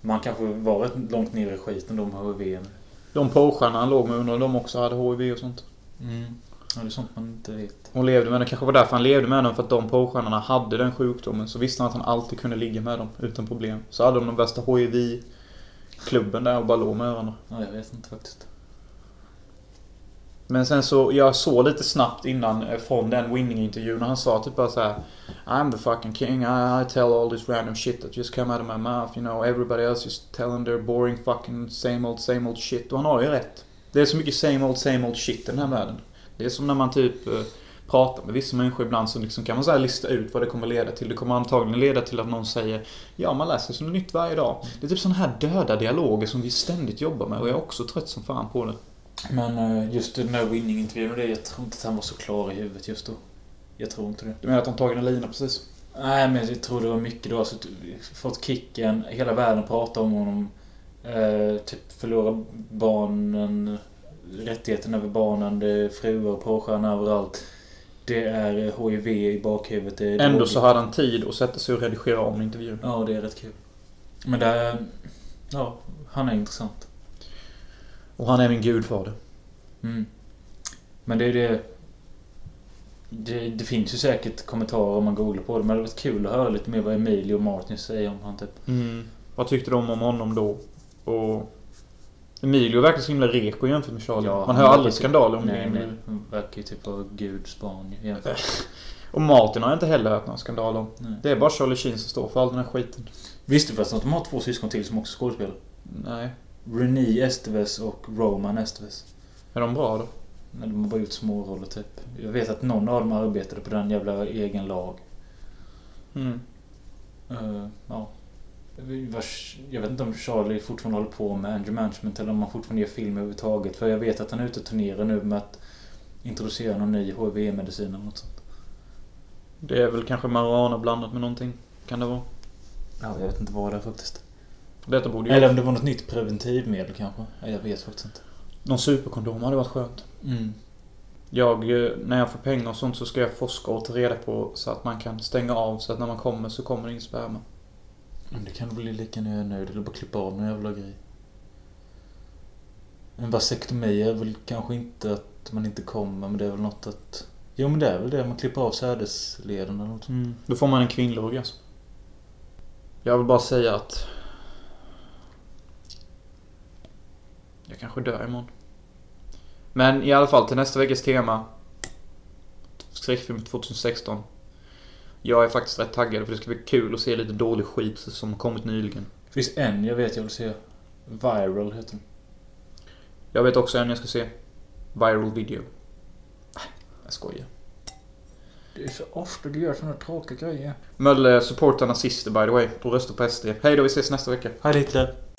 Speaker 1: Man kanske var rätt långt ner i skiten då med HIV.
Speaker 2: De porrstjärnorna han låg med undrar om de också hade HIV och sånt.
Speaker 1: Mm. Ja, det är sånt man inte vet.
Speaker 2: Hon levde med det kanske var därför han levde med dem, för att de porrstjärnorna hade den sjukdomen. Så visste han att han alltid kunde ligga med dem utan problem. Så hade de den värsta HIV-klubben där och bara låg med varandra.
Speaker 1: Ja, jag vet inte faktiskt.
Speaker 2: Men sen så, jag såg lite snabbt innan eh, från den winning-intervjun när han sa typ bara så här I'm the fucking king, I, I tell all this random shit that just come out of my mouth, you know. Everybody else is telling their boring fucking same old same old shit. Och han har ju rätt. Det är så mycket same old same old shit i den här världen. Det är som när man typ eh, pratar med vissa människor ibland så liksom kan man så här lista ut vad det kommer leda till. Det kommer antagligen leda till att någon säger Ja, man lär sig något nytt varje dag. Det är typ sådana här döda dialoger som vi ständigt jobbar med och jag är också trött som fan på det.
Speaker 1: Men eh, just den där winning-intervjun och det, jag tror inte att han var så klar i huvudet just då. Jag tror inte det.
Speaker 2: Du menar att de tagit en lina precis?
Speaker 1: Nej, men jag tror det var mycket då. Alltså, fått kicken, hela världen pratar om honom. Eh, typ förlora barnen, rättigheten över barnen, det är fruar och porrstjärnor överallt. Det är HIV i bakhuvudet. Det är
Speaker 2: Ändå
Speaker 1: droger.
Speaker 2: så hade han tid att sätta sig och redigera om intervjun.
Speaker 1: Ja, det är rätt kul. Men det... är- Ja, han är intressant.
Speaker 2: Och han är min gudfader.
Speaker 1: Mm. Men det är det... Det, det finns ju säkert kommentarer om man googlar på det, men det hade varit kul att höra lite mer vad Emilio och Martin säger om han typ.
Speaker 2: Vad tyckte de om honom då? Och... Emilio verkar så himla reko jämfört med Charlie.
Speaker 1: Ja,
Speaker 2: Man
Speaker 1: han
Speaker 2: hör
Speaker 1: verkar
Speaker 2: aldrig
Speaker 1: typ-
Speaker 2: skandaler om
Speaker 1: nej,
Speaker 2: det.
Speaker 1: nej. Han verkar ju typ vara Guds barn ju, jämfört.
Speaker 2: Och Martin har jag inte heller hört någon skandal om.
Speaker 1: Nej.
Speaker 2: Det är bara Charlie Sheen som står för all den här skiten.
Speaker 1: Visste du förresten att de har två syskon till som också skådespelar?
Speaker 2: Nej.
Speaker 1: Renée Esteves och Roman Esteves.
Speaker 2: Är de bra då?
Speaker 1: Men de har bara gjort små roller typ. Jag vet att någon av dem arbetade på den jävla egen lag.
Speaker 2: Mm.
Speaker 1: Eh, ja. Vars- Jag vet inte om Charlie fortfarande håller på med Andrew Management eller om han fortfarande gör film överhuvudtaget. För jag vet att han är ute och turnerar nu med att introducera någon ny HIV-medicin eller något sånt.
Speaker 2: Det är väl kanske marijuana blandat med någonting. Kan det vara?
Speaker 1: Ja, jag vet inte vad det är faktiskt.
Speaker 2: Detta borde ju...
Speaker 1: Eller om det var något nytt preventivmedel kanske. Ja, jag vet faktiskt inte.
Speaker 2: Någon superkondom hade varit skönt. Mm. Jag, eh, när jag får pengar och sånt så ska jag forska och ta reda på så att man kan stänga av så att när man kommer så kommer det in sperma.
Speaker 1: Men det kan bli lika när jag är nöjd eller bara klippa av någon jävla grej. En vasektomi är väl kanske inte att man inte kommer men det är väl något att... Jo men det är väl det, man klipper av sädesleden eller något sånt.
Speaker 2: Då får man en kvinnlig orgasm. Jag vill bara säga att... Jag kanske dör imorgon. Men i alla fall till nästa veckas tema. Skräckfilm 2016. Jag är faktiskt rätt taggad för det ska bli kul att se lite dålig skit som har kommit nyligen.
Speaker 1: Det finns en jag vet jag vill se. Viral heter den.
Speaker 2: Jag vet också en jag ska se. Viral video. Ah, Jag skojar.
Speaker 1: Det är så ofta du gör såna tråkiga grejer.
Speaker 2: Mölle supportar nazister by the way och röstar på SD. Hej då, vi ses nästa vecka.
Speaker 1: Hej Hitler!